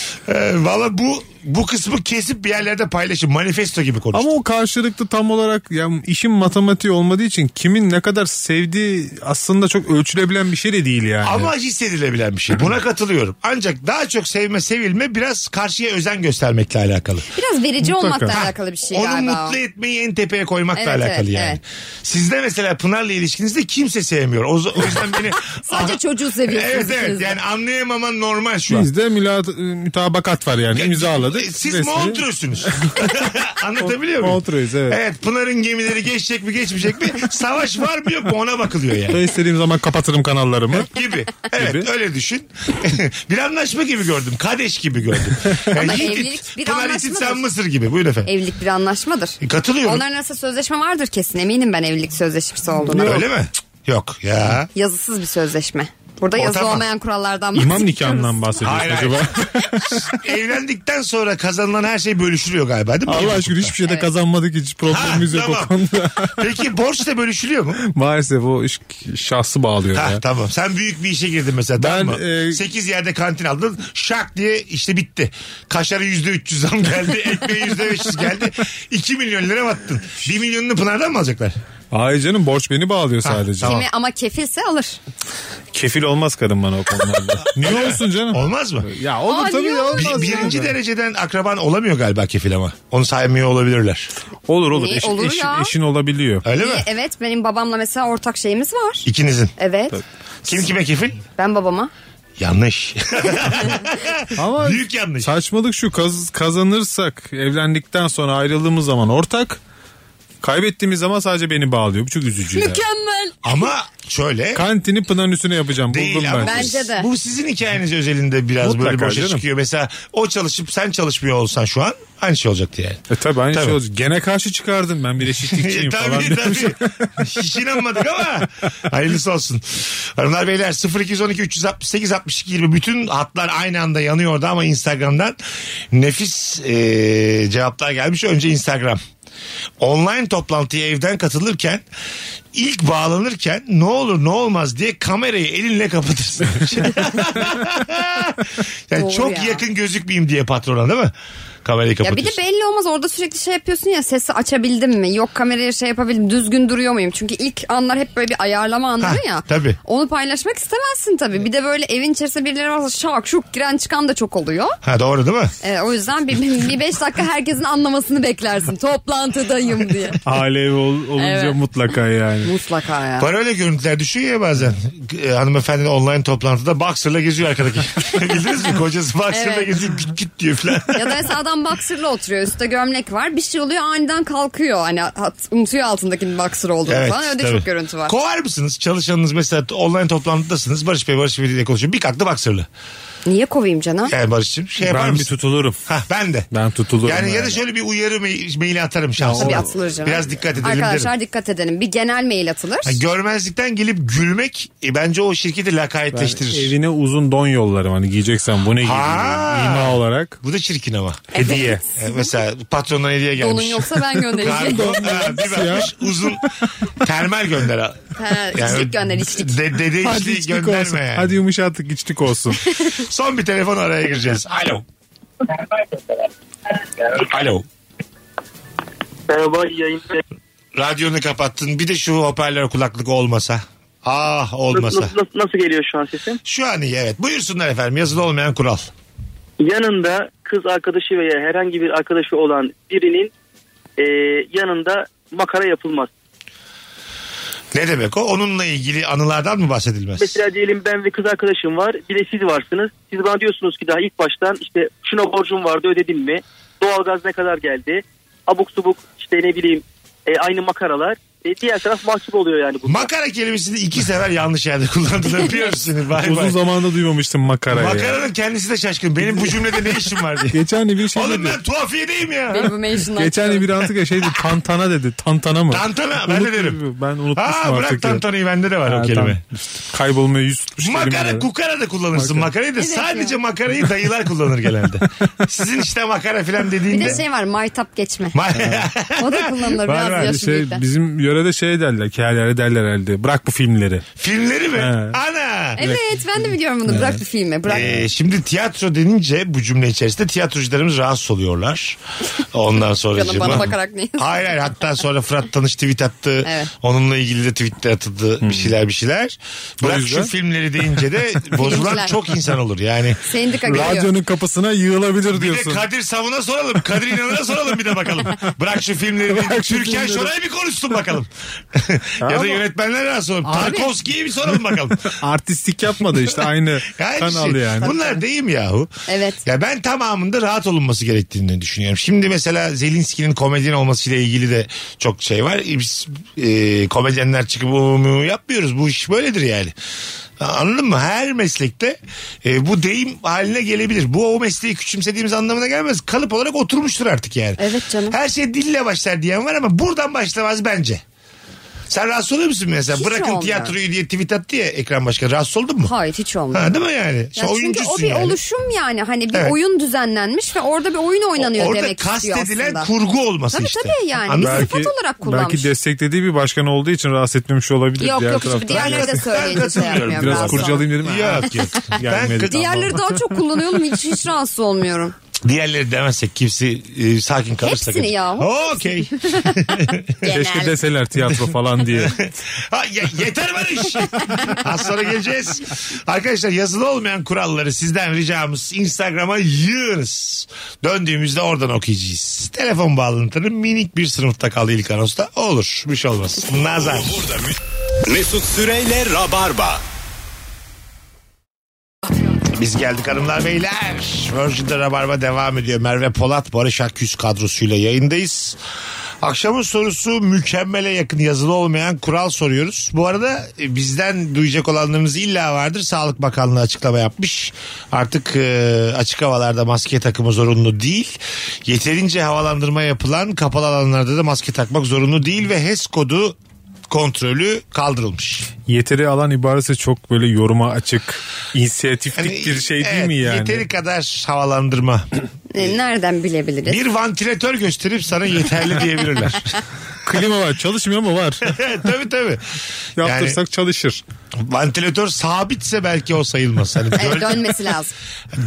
Speaker 3: ee, Valla bu bu kısmı kesip bir yerlerde paylaşın. Manifesto gibi konuş.
Speaker 5: Ama o karşılıklı tam olarak yani işin matematiği olmadığı için kimin ne kadar sevdiği aslında çok ölçülebilen bir şey de değil yani.
Speaker 3: Ama hissedilebilen bir şey. Buna katılıyorum. Ancak daha çok sevme sevilme biraz karşıya özen göstermekle alakalı.
Speaker 4: Biraz verici
Speaker 5: Mutlaka.
Speaker 4: olmakla
Speaker 5: Ha,
Speaker 4: alakalı bir şey
Speaker 3: Onu
Speaker 4: galiba. o.
Speaker 3: mutlu etmeyi en tepeye koymakla
Speaker 4: Evet,
Speaker 3: alakalı
Speaker 4: evet,
Speaker 3: yani.
Speaker 4: evet.
Speaker 3: Sizde mesela Pınar'la ilişkinizde kimse sevmiyor. O, o yüzden beni...
Speaker 4: Sadece çocuğu seviyorsunuz.
Speaker 3: Evet evet
Speaker 4: ikiniz de.
Speaker 3: yani anlayamaman normal şu an.
Speaker 5: Bizde müla- mütabakat var yani imzaladık.
Speaker 3: e, Siz
Speaker 5: resmi.
Speaker 3: Montreux'sunuz. Anlatabiliyor muyum?
Speaker 5: Montreux'uz, evet.
Speaker 3: Evet Pınar'ın gemileri geçecek mi geçmeyecek mi? Savaş var mı yok mu ona bakılıyor yani.
Speaker 5: Ben istediğim zaman kapatırım kanallarımı.
Speaker 3: gibi. Evet
Speaker 5: Gibi.
Speaker 3: öyle düşün. bir anlaşma gibi gördüm. Kadeş gibi gördüm.
Speaker 4: Ama
Speaker 3: Yiğit,
Speaker 4: evlilik bir E,
Speaker 3: Pınar
Speaker 4: anlaşmadır.
Speaker 3: için sen Mısır gibi. Buyurun efendim.
Speaker 4: Evlilik bir anlaşmadır.
Speaker 3: E, Katılıyorum.
Speaker 4: Onların arasında sözleşme vardır kesin. Eminim ben evlilik sözleşmesi olduğuna.
Speaker 3: Öyle mi? Yok ya.
Speaker 4: Yazısız bir sözleşme. Burada yazılı
Speaker 3: tamam.
Speaker 4: olmayan kurallardan
Speaker 5: İmam
Speaker 4: bahsediyoruz.
Speaker 5: nikahından bahsediyorsun
Speaker 3: Hayır, hayır.
Speaker 5: acaba?
Speaker 3: Evlendikten sonra kazanılan her şey bölüşülüyor galiba değil mi?
Speaker 5: Allah aşkına hiçbir şeyde kazanmadık hiç problemimiz
Speaker 3: Ha,
Speaker 5: yok
Speaker 3: tamam.
Speaker 5: o konuda.
Speaker 3: Peki borç da bölüşülüyor mu?
Speaker 5: Maalesef o iş şahsı bağlıyor
Speaker 3: Ha
Speaker 5: ya.
Speaker 3: tamam. Sen büyük bir işe girdin mesela.
Speaker 5: Ben,
Speaker 3: tamam mı?
Speaker 5: e,
Speaker 3: 8 yerde kantin aldın. Şak diye işte bitti. Kaşarı %300 zam geldi. Ekmeği %500 geldi. 2 milyon lira battın. 1 milyonunu Pınar'dan mı alacaklar?
Speaker 5: Hayır canım borç beni bağlıyor sadece.
Speaker 3: tamam.
Speaker 4: Kimi ama kefilse alır.
Speaker 5: Kefil olmaz kadın bana o konularda. Niye olsun canım?
Speaker 3: Olmaz mı?
Speaker 5: Ya olur
Speaker 4: Aa,
Speaker 5: tabii
Speaker 4: niye
Speaker 5: ya
Speaker 4: olmaz?
Speaker 5: olmaz.
Speaker 3: Bir- birinci
Speaker 5: yani.
Speaker 3: dereceden akraban olamıyor galiba kefil ama. Onu saymıyor olabilirler.
Speaker 5: Olur olur.
Speaker 4: Niye
Speaker 5: Eşin,
Speaker 4: olur
Speaker 5: eşin,
Speaker 4: ya?
Speaker 5: eşin olabiliyor.
Speaker 3: Öyle mi?
Speaker 4: Niye? Evet benim babamla mesela ortak şeyimiz var.
Speaker 3: İkinizin.
Speaker 4: Evet.
Speaker 3: Kim kime kefil?
Speaker 4: Ben babama.
Speaker 3: Yanlış.
Speaker 5: Ama
Speaker 3: Büyük yanlış.
Speaker 5: saçmalık şu kaz, kazanırsak evlendikten sonra ayrıldığımız zaman ortak kaybettiğimiz zaman sadece beni bağlıyor. Bu çok üzücü ya.
Speaker 4: Mükemmel.
Speaker 3: ama şöyle.
Speaker 5: Kantini Pınar'ın üstüne yapacağım.
Speaker 3: Değil
Speaker 5: Buldum
Speaker 3: ama
Speaker 5: ben.
Speaker 3: bu-
Speaker 4: Bence de.
Speaker 3: Bu sizin hikayeniz özelinde biraz
Speaker 5: Mutlaka
Speaker 3: böyle boşa
Speaker 5: canım.
Speaker 3: çıkıyor. Mesela o çalışıp sen çalışmıyor olsan şu an aynı şey olacaktı yani.
Speaker 5: E tabi aynı
Speaker 3: Tabii.
Speaker 5: şey olacak. Gene karşı çıkardım ben bir eşitlikçiyim falan.
Speaker 3: tabii tabii. Hiç inanmadık ama hayırlısı olsun. Hanımlar beyler 0212 368 62 20 bütün hatlar aynı anda yanıyordu ama Instagram'dan nefis e, cevaplar gelmiş. Önce Instagram. Online toplantıya evden katılırken ilk bağlanırken ne olur ne olmaz diye kamerayı elinle kapatırsın. yani
Speaker 4: Doğru
Speaker 3: çok
Speaker 4: ya.
Speaker 3: yakın gözükmeyeyim diye patrona değil mi? Kamerayı
Speaker 4: Ya bir
Speaker 3: kapatırsın.
Speaker 4: de belli olmaz orada sürekli şey yapıyorsun ya sesi açabildim mi yok kameraya şey yapabildim düzgün duruyor muyum çünkü ilk anlar hep böyle bir ayarlama anları
Speaker 3: Ha,
Speaker 4: ya
Speaker 3: tabii.
Speaker 4: onu paylaşmak istemezsin tabii bir de böyle evin içerisinde birileri varsa şak şuk giren çıkan da çok oluyor
Speaker 3: Ha doğru değil mi?
Speaker 4: Ee, o yüzden bir, bir beş dakika herkesin anlamasını beklersin toplantıdayım diye
Speaker 5: Alev ol- olunca
Speaker 4: Evet. Şey
Speaker 5: mutlaka yani.
Speaker 4: mutlaka ya
Speaker 3: Var öyle görüntüler düşüyor ya bazen. E, hanımefendi online toplantıda boxer'la geziyor arkadaki. Bildiniz mi? Kocası boxer'la
Speaker 4: Evet.
Speaker 3: geziyor git git diyor falan.
Speaker 4: ya da mesela adam boxer'la oturuyor üstte gömlek var bir şey oluyor aniden kalkıyor hani hat- unutuyor altındakinin boxer olduğunu falan öyle de
Speaker 3: tabii.
Speaker 4: çok görüntü var
Speaker 3: Kovar mısınız? Çalışanınız mesela online toplantıdasınız. Barış Bey, Barış Bey diye konuşuyor. Bir kalktı boxer'lı.
Speaker 4: niye kovayım canım
Speaker 3: Yani Barış'cığım şey yapar
Speaker 5: Ben bir
Speaker 3: mısın?
Speaker 5: tutulurum.
Speaker 3: Hah, ben de.
Speaker 5: Ben tutulurum
Speaker 3: Yani ya da
Speaker 5: yani.
Speaker 3: şöyle bir uyarı me- maili atarım şahsına.
Speaker 4: Tabii atılır canım.
Speaker 3: Biraz dikkat edelim
Speaker 4: Arkadaşlar
Speaker 3: derim.
Speaker 4: dikkat edelim. Bir genel mail atılır.
Speaker 3: Ha, görmezlikten gelip gülmek e, bence o şirketi lakayetleştirir.
Speaker 5: Evine uzun don yollarım hani giyeceksen bu ne giyeyim
Speaker 3: Ha.
Speaker 5: ima olarak.
Speaker 3: Bu da çirkin ama.
Speaker 5: Hediye.
Speaker 3: E, mesela patrondan hediye gelmiş.
Speaker 4: Donun yoksa ben göndereceğim.
Speaker 3: Kargo ha, bir bakmış uzun termal gönder. al.
Speaker 4: Ha, içlik gönder, içlik.
Speaker 3: De, dede
Speaker 5: Hadi
Speaker 3: içliği
Speaker 5: içlik
Speaker 3: gönderme
Speaker 5: olsun.
Speaker 3: yani.
Speaker 5: Hadi yumuşattık içlik olsun.
Speaker 3: Son bir telefon araya gireceğiz. Alo. Alo.
Speaker 6: Merhaba iyi yayınlar.
Speaker 3: Radyonu kapattın. Bir de şu hoparlör kulaklık olmasa. Ah olmasa.
Speaker 6: Nasıl, nasıl, nasıl geliyor şu an sesim?
Speaker 3: Şu an iyi evet. Buyursunlar efendim. Yazılı olmayan kural.
Speaker 6: Yanında kız arkadaşı veya herhangi bir arkadaşı olan birinin e, yanında makara yapılmaz.
Speaker 3: Ne demek o? Onunla ilgili anılardan mı bahsedilmez?
Speaker 6: Mesela diyelim ben ve kız arkadaşım var. Bir de siz varsınız. Siz bana diyorsunuz ki daha ilk baştan işte şuna borcum vardı ödedim mi? Doğalgaz ne kadar geldi? Abuk subuk işte ne bileyim e, aynı makaralar. E, diğer taraf mahcup oluyor yani. Bunda.
Speaker 3: Makara kelimesini iki sefer yanlış yerde kullandın. Öpüyorum seni. Bay
Speaker 5: Uzun
Speaker 3: bay.
Speaker 5: zamanda duymamıştım makarayı.
Speaker 3: Makaranın kendisi de şaşkın. Benim bu cümlede ne işim var diye.
Speaker 5: Geçen de bir şey
Speaker 3: Oğlum
Speaker 5: dedi.
Speaker 3: ben tuhafiye değilim ya.
Speaker 4: Benim bu mention'dan
Speaker 5: Geçen de
Speaker 4: çıkıyorum.
Speaker 5: bir antika şey dedi. Tantana dedi. Tantana mı?
Speaker 3: Tantana ben de
Speaker 5: Unuttum
Speaker 3: derim.
Speaker 5: gibi. Ben unutmuşum
Speaker 3: Ha
Speaker 5: artık. ya.
Speaker 3: bırak tantanayı bende de var
Speaker 5: Ha,
Speaker 3: o
Speaker 5: tam-
Speaker 3: kelime.
Speaker 5: Kaybolmaya yüz tutmuş
Speaker 3: Makara
Speaker 5: kelimeler.
Speaker 3: kukara da kullanırsın
Speaker 5: Makara.
Speaker 3: makarayı da
Speaker 4: Evet
Speaker 3: sadece
Speaker 4: ya.
Speaker 3: makarayı dayılar kullanır genelde. Sizin işte makara filan
Speaker 4: Bir
Speaker 3: dediğinde.
Speaker 4: de şey var maytap geçme.
Speaker 3: Ma-
Speaker 4: O da kullanılır
Speaker 5: Var
Speaker 4: biraz
Speaker 5: var
Speaker 4: yaşlı
Speaker 5: şey,
Speaker 4: birlikte.
Speaker 5: bizim yörede şey derler kehallere derler herhalde bırak bu filmleri.
Speaker 3: Filmleri mi?
Speaker 5: Evet.
Speaker 3: Ana.
Speaker 4: Evet ben de biliyorum bunu. Bırak bir filme. Bırak.
Speaker 3: Ee, şimdi tiyatro denince bu cümle içerisinde tiyatrocularımız rahatsız oluyorlar. Ondan sonra
Speaker 4: Canım bana bakarak ne?
Speaker 3: Hayır hayır hatta sonra Fırat Tanış tweet attı.
Speaker 4: Evet.
Speaker 3: Onunla ilgili de tweet de atıldı bir şeyler bir şeyler. Bırak şu
Speaker 5: Hmm. yüzden-
Speaker 3: filmleri deyince de bozulan
Speaker 4: Filmciler.
Speaker 3: çok insan olur yani.
Speaker 4: Sendika geliyor.
Speaker 5: Radyonun kapısına yığılabilir
Speaker 3: Bir de
Speaker 5: diyorsun.
Speaker 3: Kadir Savun'a soralım. Kadir İnanır'a soralım bir de bakalım. Bırak şu filmleri.
Speaker 5: Bırak şu
Speaker 3: Türkan
Speaker 5: filmleri.
Speaker 3: Şoray'ı bir konuşsun bakalım. ya da yönetmenlere de soralım. Tarkovski'yi bir soralım bakalım.
Speaker 5: Artistik yapmadı işte aynı
Speaker 3: Aynı
Speaker 5: kanal
Speaker 3: şey.
Speaker 5: yani.
Speaker 3: Bunlar deyim yahu.
Speaker 4: Evet.
Speaker 3: Ya ben tamamında rahat olunması gerektiğini düşünüyorum. Şimdi mesela Zelinski'nin komedyen olmasıyla ilgili de çok şey var. Biz e, komedyenler çıkıp "Oo, mu yapmıyoruz. Bu iş böyledir yani. Anladın mı? Her meslekte e, bu deyim haline gelebilir. Bu o mesleği küçümsediğimiz anlamına gelmez. Kalıp olarak oturmuştur artık yani.
Speaker 4: Evet canım.
Speaker 3: Her şey dille başlar diyen var ama buradan başlamaz bence. Sen rahatsız oluyor musun mesela?
Speaker 4: Hiç
Speaker 3: Bırakın
Speaker 4: olmuyor.
Speaker 3: tiyatroyu diye tweet attı ya ekran başkanı. Rahatsız oldun mu?
Speaker 4: Hayır hiç olmuyor.
Speaker 3: Ha, değil mi yani? Sen
Speaker 4: Ya çünkü
Speaker 3: oyuncusun
Speaker 4: o bir
Speaker 3: yani.
Speaker 4: oluşum yani hani bir
Speaker 3: Evet.
Speaker 4: oyun düzenlenmiş ve orada bir oyun oynanıyor
Speaker 3: Orada
Speaker 4: demek istiyor
Speaker 3: kastedilen
Speaker 4: aslında.
Speaker 3: kurgu olması
Speaker 4: Tabii
Speaker 3: işte.
Speaker 4: tabii yani.
Speaker 3: Anladın
Speaker 4: Bir
Speaker 3: mı?
Speaker 4: sıfat olarak kullanmış.
Speaker 5: belki desteklediği bir başkan olduğu için rahatsız etmetmiş olabilir.
Speaker 4: Yok
Speaker 5: diğer
Speaker 4: yok
Speaker 5: taraftan.
Speaker 4: hiçbir diğerleri de söyleyince şey yapmıyorum.
Speaker 5: Biraz
Speaker 4: rahatsız olmuyorum.
Speaker 5: kurcalayayım dedim. "Aa,
Speaker 3: Yok yok.
Speaker 5: Gelmedi.
Speaker 3: Ben-
Speaker 4: Diğerleri daha çok kullanıyorum hiç, hiç rahatsız olmuyorum.
Speaker 3: Diğerleri demezsek kimse e, sakin kalırsa.
Speaker 4: Hepsini yahu.
Speaker 3: Okey.
Speaker 5: Keşke deseler tiyatro falan diye.
Speaker 3: Ha, ye- yeter Barış. Az sonra geleceğiz. Arkadaşlar yazılı olmayan kuralları sizden ricamız Instagram'a yığınız. Döndüğümüzde oradan okuyacağız. Telefon bağlantını minik bir sınıfta kaldı ilk anosta. Olur. Bir şey olmaz. Nazar.
Speaker 2: Burada Mü- Mesut Süreyle Rabarba.
Speaker 3: Biz geldik hanımlar beyler. Virgin'de Rabarba devam ediyor. Merve Polat, Barış Akgüz kadrosuyla yayındayız. Akşamın sorusu mükemmele yakın yazılı olmayan kural soruyoruz. Bu arada e, bizden duyacak olanlarınız illa vardır. Sağlık Bakanlığı açıklama yapmış. Artık e, açık havalarda maske takımı zorunlu değil. Yeterince havalandırma yapılan kapalı alanlarda da maske takmak zorunlu değil ve HES kodu kontrolü kaldırılmış.
Speaker 5: Yeteri alan ibaresi çok böyle yoruma açık, inisiyatiflik
Speaker 3: Yani,
Speaker 5: bir şey değil
Speaker 3: Hani, evet,
Speaker 5: mi yani?
Speaker 3: Yeteri kadar havalandırma.
Speaker 4: E, Nereden bilebiliriz?
Speaker 3: Bir vantilatör gösterip sana yeterli diyebilirler.
Speaker 5: Klima var çalışmıyor mu var?
Speaker 3: tabii tabii.
Speaker 5: Yaptırsak çalışır.
Speaker 3: Yani vantilatör sabitse belki o sayılmaz. Hani
Speaker 4: Evet,
Speaker 3: dön-
Speaker 4: dönmesi lazım.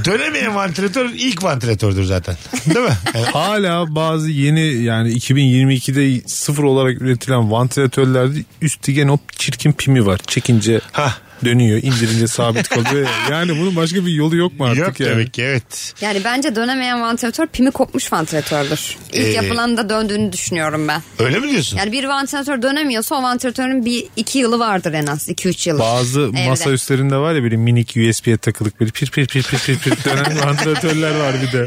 Speaker 3: dönemeyen vantilatör ilk vantilatördür zaten. Değil mi? Yani
Speaker 5: Hala bazı yeni yani 2022'de sıfır olarak üretilen vantilatörlerde üstü gene o çirkin pimi var. Çekince
Speaker 3: Hah.
Speaker 5: dönüyor indirince sabit kalıyor. ya. Yani bunun başka bir yolu yok mu artık
Speaker 3: Yok
Speaker 5: yani?
Speaker 3: demek ki evet.
Speaker 4: Yani bence dönemeyen vantilatör pimi kopmuş vantilatördür. İlk
Speaker 3: Ee,
Speaker 4: yapılan da döndüğünü düşünüyorum ben.
Speaker 3: Öyle mi diyorsun?
Speaker 4: Yani bir vantilatör dönemiyorsa o vantilatörün bir iki yılı vardır en az. iki üç yılı.
Speaker 5: Bazı
Speaker 4: Evde.
Speaker 5: masa üstlerinde var ya böyle minik USB'ye takılık böyle pir pir pir pir pir pir dönen vantilatörler var bir de.
Speaker 4: Bazı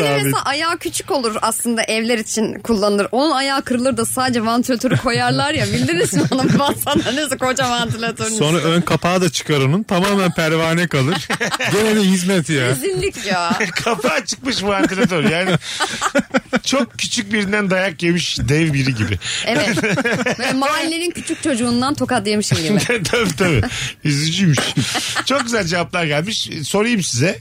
Speaker 4: da böyle
Speaker 5: Sabit.
Speaker 4: mesela ayağı küçük olur aslında evler için kullanılır. Onun ayağı kırılır da sadece vantilatörü koyarlar ya. Bildiniz mi onun vantilatörünüzü koca vantilatörünüzü.
Speaker 5: Sonra ön kapağı da çıkar onun. Tamamen pervane kalır. Gene de hizmet ya.
Speaker 4: Rezillik ya.
Speaker 3: Kapağı çıkmış vantilatör. Yani çok küçük birinden dayak yemiş dev biri gibi.
Speaker 4: Evet. Böyle mahallenin küçük çocuğundan tokat yemişim gibi.
Speaker 3: tabii tabii. Üzücüymüş. Çok güzel cevaplar gelmiş. Sorayım size.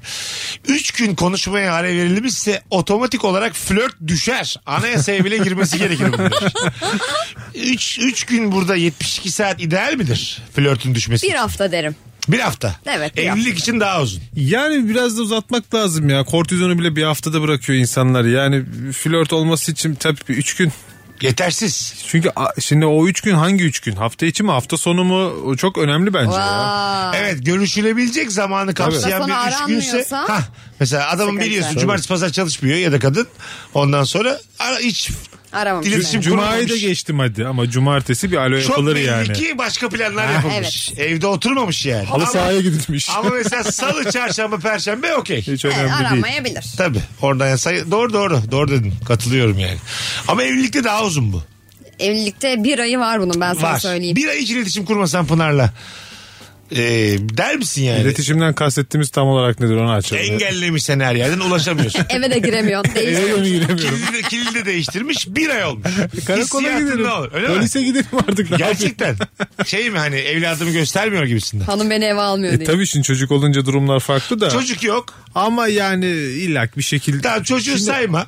Speaker 3: Üç gün konuşmaya ara verilmişse otomatik olarak flört düşer. Anayasaya bile girmesi gerekir bunun. Üç, üç gün burada 72 saat ideal midir flörtün düşmesi?
Speaker 4: Bir hafta derim.
Speaker 3: Bir hafta. E,
Speaker 4: Evet, bir
Speaker 3: Evlilik için daha uzun.
Speaker 5: Yani biraz da uzatmak lazım ya. Kortizonu bile bir haftada bırakıyor insanlar. Yani flört olması için tabii bir üç gün
Speaker 3: Yetersiz.
Speaker 5: Çünkü a- şimdi o üç gün hangi üç gün? Hafta içi mi hafta sonu mu? O çok önemli bence. ya.
Speaker 4: Vay.
Speaker 3: Evet görüşülebilecek zamanı kapsayan bir
Speaker 4: Hafta sonu
Speaker 3: üç günse.
Speaker 4: aranmıyorsa-
Speaker 3: Hah, mesela adamın
Speaker 4: Sıkıntı.
Speaker 3: biliyorsun
Speaker 4: Tabii.
Speaker 3: cumartesi pazar çalışmıyor ya da kadın. Ondan sonra ara, hiç
Speaker 4: Aramamış.
Speaker 3: İletişim
Speaker 4: yani.
Speaker 5: Cuma'yı da
Speaker 3: kurulmamış.
Speaker 5: geçtim hadi ama cumartesi bir alo
Speaker 3: çok
Speaker 5: yapılır
Speaker 3: belli
Speaker 5: yani.
Speaker 3: ki başka planlar yapılmış. Evde oturmamış yani.
Speaker 5: Halı
Speaker 3: Ama-
Speaker 5: sahaya gidilmiş.
Speaker 3: Ama mesela salı, çarşamba, perşembe okey.
Speaker 4: Evet,
Speaker 5: Hiç önemli değil.
Speaker 4: aramayabilir.
Speaker 3: Tabii. Oradan yani sayı doğru doğru. Doğru dedin. Katılıyorum yani. Ama evlilikte daha uzun bu.
Speaker 4: Evlilikte bir ayı var bunun ben sana
Speaker 3: Var.
Speaker 4: söyleyeyim.
Speaker 3: Bir ay hiç iletişim kurmasan Pınar'la. Ee, der misin yani?
Speaker 5: İletişimden kastettiğimiz tam olarak nedir onu açalım.
Speaker 3: Engellemiş seni her yerden ulaşamıyorsun.
Speaker 4: Eve de giremiyorsun. Değil.
Speaker 5: Eve yönü giremiyorum.
Speaker 3: kilidi, de, kilidi de değiştirmiş bir ay olmuş.
Speaker 5: Karakola
Speaker 3: Hissiyatın
Speaker 5: gidelim.
Speaker 3: ne olur, Öyle mi?
Speaker 5: Polise gidelim artık. ne yapayım?
Speaker 3: Gerçekten. şey mi hani evladımı göstermiyor gibisinden.
Speaker 4: Hanım beni eve almıyor
Speaker 5: E
Speaker 4: diye.
Speaker 5: tabii şimdi çocuk olunca durumlar farklı da.
Speaker 3: Çocuk yok.
Speaker 5: Ama yani illak bir şekilde.
Speaker 3: Tamam çocuğu
Speaker 5: Şimdi
Speaker 3: sayma.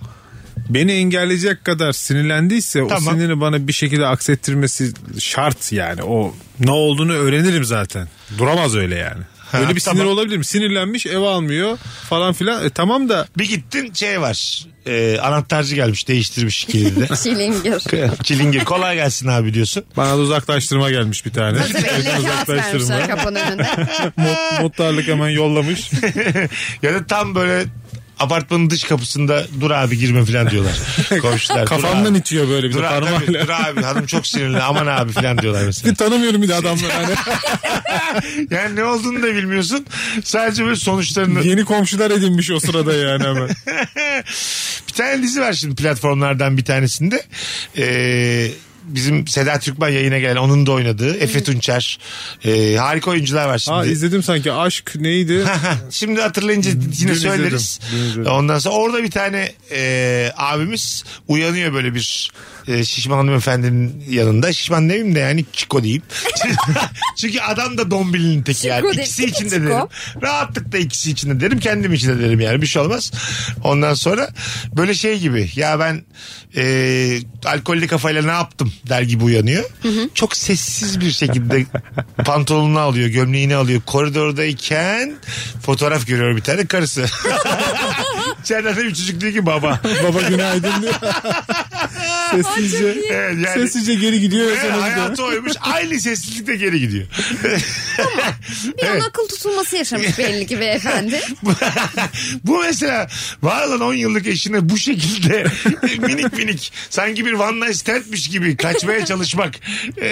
Speaker 5: Beni engelleyecek kadar sinirlendiyse o
Speaker 3: Tamam.
Speaker 5: sinirini bana bir şekilde aksettirmesi şart yani. O ne olduğunu öğrenirim zaten. Duramaz öyle yani. öyle bir
Speaker 3: tamam.
Speaker 5: sinir olabilir mi? Sinirlenmiş eve almıyor falan filan. E tamam da
Speaker 3: Bir gittin şey var. Ee, anahtarcı gelmiş değiştirmiş kilidi de.
Speaker 4: Çilingir.
Speaker 3: Çilingir kolay gelsin abi diyorsun.
Speaker 5: bana da uzaklaştırma gelmiş bir tane.
Speaker 4: Tabii eline kağıt vermişler kapının önünde.
Speaker 5: Mot- Motlarlık hemen yollamış.
Speaker 3: Ya da tam böyle apartmanın dış kapısında dur abi girme falan diyorlar. Komşular.
Speaker 5: Kafamdan
Speaker 3: dur abi.
Speaker 5: itiyor böyle bir
Speaker 3: Dur
Speaker 5: de
Speaker 3: abi, tabii,
Speaker 5: parmağıyla.
Speaker 3: dur abi hanım çok sinirli aman abi falan diyorlar mesela.
Speaker 5: Bir tanımıyorum bir de adamları. Hani
Speaker 3: Yani ne olduğunu da bilmiyorsun. Sadece böyle sonuçlarını.
Speaker 5: yeni komşular edinmiş o sırada yani hemen.
Speaker 3: bir tane dizi var şimdi platformlardan bir tanesinde. Ee, bizim Seda Türkmen yayına gelen onun da oynadığı Efe Tunçer. Ee, harika oyuncular var şimdi.
Speaker 5: Aa, izledim sanki aşk neydi?
Speaker 3: Heh, Şimdi hatırlayınca yine
Speaker 5: izledim,
Speaker 3: söyleriz.
Speaker 5: dün izledim.
Speaker 3: Ondan sonra orada bir tane e, abimiz uyanıyor böyle bir e, şişman hanımefendinin yanında. Şişman demeyeyim de yani çiko diyeyim. Çünkü adam da dombilinin teki yani.
Speaker 4: Çiko de-
Speaker 3: İkisi için de
Speaker 4: Çiko.
Speaker 3: derim. Rahatlıkla ikisi için de derim. Kendim için de derim yani. Bir şey olmaz. Ondan sonra böyle şey gibi ya ben e, alkollü kafayla ne yaptım der gibi uyanıyor. Çok sessiz bir şekilde pantolonunu alıyor, gömleğini alıyor. Koridordayken fotoğraf görüyor bir tane karısı. İçeriden de bir çocuk diyor ki baba.
Speaker 5: Baba günaydın diyor. Sessizce.
Speaker 3: Evet, yani-
Speaker 5: Sessizce geri gidiyor.
Speaker 3: Ve
Speaker 5: sonra gidiyor.
Speaker 3: hayatı oymuş. Aynı sessizlikte geri gidiyor.
Speaker 4: Bir an akıl tutulması yaşamış belli ki beyefendi.
Speaker 3: bu mesela var olan 10 yıllık eşine bu şekilde minik minik sanki bir one night standmiş gibi kaçmaya çalışmak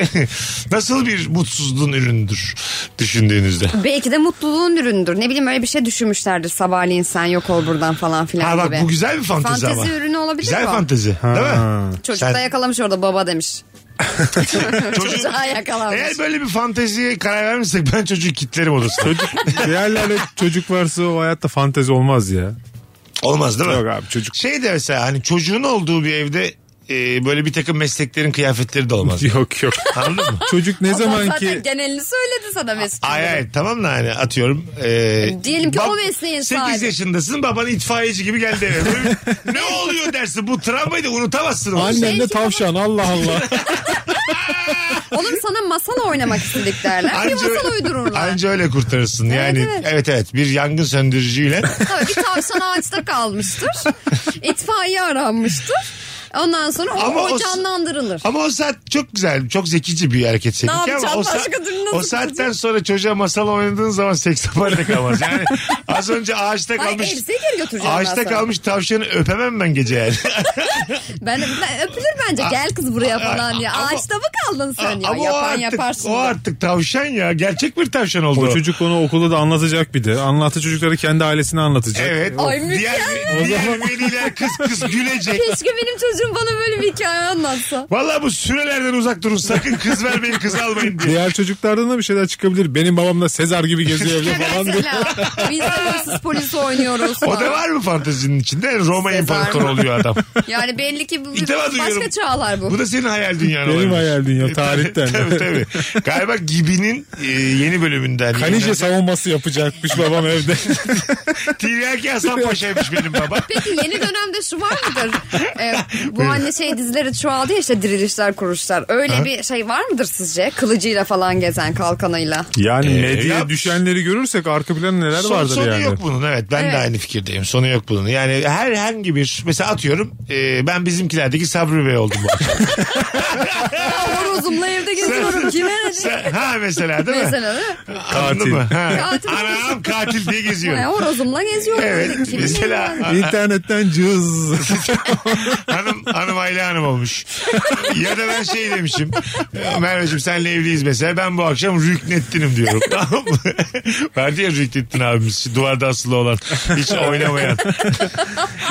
Speaker 3: nasıl bir mutsuzluğun ürünüdür düşündüğünüzde.
Speaker 4: Belki de mutluluğun ürünüdür. Ne bileyim öyle bir şey düşünmüşlerdir. Sabahleyin sen yok ol buradan falan filan
Speaker 3: Ha bak
Speaker 4: gibi.
Speaker 3: bu güzel bir fantezi,
Speaker 4: Fantezi
Speaker 3: ama.
Speaker 4: ürünü olabilir
Speaker 3: Güzel
Speaker 4: bu.
Speaker 3: fantezi. Değil mi?
Speaker 4: Çocuk
Speaker 3: Sen-
Speaker 4: da yakalamış orada baba demiş. Çocuğa yakalanmış.
Speaker 3: Eğer böyle bir fanteziye karar vermişsek ben çocuğu kitlerim odasına.
Speaker 5: Çocuk, diğerlerle çocuk varsa o hayatta fantezi olmaz ya.
Speaker 3: Olmaz değil mi?
Speaker 5: Yok abi çocuk.
Speaker 3: Şey de mesela hani çocuğun olduğu bir evde e, böyle bir takım mesleklerin kıyafetleri de olmaz.
Speaker 5: Yok yok.
Speaker 3: Anladın mı?
Speaker 5: Çocuk ne
Speaker 4: Zaten
Speaker 5: zaman ki
Speaker 4: genelini söyledi sana Mesut.
Speaker 3: Ay ay tamam da hani atıyorum. E,
Speaker 4: Diyelim ki o mesleğin
Speaker 3: 8
Speaker 4: sahibi.
Speaker 3: yaşındasın baban itfaiyeci gibi geldi eve. Böyle bir- ne oluyor dersin bu travmayı da unutamazsın. onu.
Speaker 5: annem de tavşan Allah Allah.
Speaker 4: Oğlum sana masal oynamak istedik derler. bir masal uydururlar.
Speaker 3: anca öyle kurtarırsın. Yani evet
Speaker 4: evet.
Speaker 3: evet. bir yangın söndürücüyle
Speaker 4: Tabii bir tavşan ağaçta kalmıştır. İtfaiye aranmıştır. Ondan sonra o,
Speaker 3: Ama
Speaker 4: o
Speaker 3: o-
Speaker 4: canlandırılır.
Speaker 3: Ama o saat çok güzel, çok zekice bir hareket seninki ama
Speaker 4: yapacaksın
Speaker 3: o, saat,
Speaker 4: başka türlü nasıl
Speaker 3: o saatten
Speaker 4: yapacaksın?
Speaker 3: sonra çocuğa masal oynadığın zaman seks yaparla kalmaz. Yani az önce ağaçta
Speaker 4: Hayır
Speaker 3: kalmış...
Speaker 4: elbiseyi geri götüreceğim ben
Speaker 3: Ağaçta
Speaker 4: sana.
Speaker 3: kalmış tavşanı öpemem ben gece yani.
Speaker 4: Ben, ben öpülür bence gel kız buraya falan diye.
Speaker 3: ama-
Speaker 4: Ağaçta mı kaldın sen ya?
Speaker 3: Ama o
Speaker 4: Yapan
Speaker 3: artık,
Speaker 4: yaparsın.
Speaker 3: o
Speaker 4: da.
Speaker 3: artık tavşan ya. Gerçek bir tavşan oldu.
Speaker 5: O çocuk onu okulda da anlatacak bir de. Anlattı çocukları kendi ailesine anlatacak.
Speaker 3: Evet.
Speaker 4: Ay,
Speaker 3: diğer
Speaker 4: mükemmel.
Speaker 3: diğer veliler kız kız gülecek.
Speaker 4: Keşke benim çocuğum bana böyle bir hikaye anlatsa.
Speaker 3: Vallahi bu sürelerden uzak durun. Sakın kız vermeyin kız almayın diye.
Speaker 5: Diğer çocuklardan da bir şeyler çıkabilir. Benim babam da Sezar gibi geziyor evde falan diye.
Speaker 4: Mesela biz de hırsız polisi oynuyoruz.
Speaker 3: O
Speaker 4: falan.
Speaker 3: da var mı fantezinin içinde? Roma
Speaker 4: Sezar.
Speaker 3: imparatoru oluyor adam.
Speaker 4: Yani belli ki bu
Speaker 3: İlk defa duyuyorum.
Speaker 4: başka çağlar bu.
Speaker 3: Bu da senin hayal dünyan
Speaker 5: Benim
Speaker 3: olabilir. E,
Speaker 5: hayal dünya, tarihten.
Speaker 3: tabii tabii. Galiba Gibi'nin e, yeni bölümünden.
Speaker 5: Kanice savunması yapacakmış babam evde.
Speaker 3: Tiryaki Hasan Paşa'ymış benim baba.
Speaker 4: Peki yeni dönemde şu var mıdır? Ee, Bu hani şey dizileri çoğaldı ya işte dirilişler kuruşlar. Öyle bir şey var mıdır sizce? Kılıcıyla falan gezen kalkanıyla.
Speaker 5: Yani
Speaker 3: Ee,
Speaker 5: medyaya
Speaker 3: yapmış.
Speaker 5: düşenleri görürsek arka planı neler
Speaker 3: Son-
Speaker 5: vardır
Speaker 3: sonu
Speaker 5: yani.
Speaker 3: yok bunun evet ben
Speaker 4: Evet.
Speaker 3: de aynı fikirdeyim sonu yok bunun yani herhangi bir mesela atıyorum e, ben bizimkilerdeki Sabri Bey oldum bu akşam.
Speaker 4: Ya horozumla evde geziyorum kime ne?
Speaker 3: Sen- ha mesela değil mi?
Speaker 4: Mesela Şey değil mi?
Speaker 3: Anladın mı? Ha.
Speaker 4: Katil.
Speaker 3: Anam katil diye
Speaker 4: Ha,
Speaker 3: geziyorum.
Speaker 4: Hani horozumla geziyorum.
Speaker 3: Evet
Speaker 4: Kimin
Speaker 3: mesela
Speaker 4: evine?
Speaker 5: İnternetten cız.
Speaker 3: hanım, hanım aile hanım olmuş. ya da ben şey demişim. Merveciğim senle evliyiz mesela. Ben bu akşam Rüknettin'im diyorum. Tamam mı? Vardı ya Rüknettin abimiz. şu Duvarda asılı olan. Hiç oynamayan.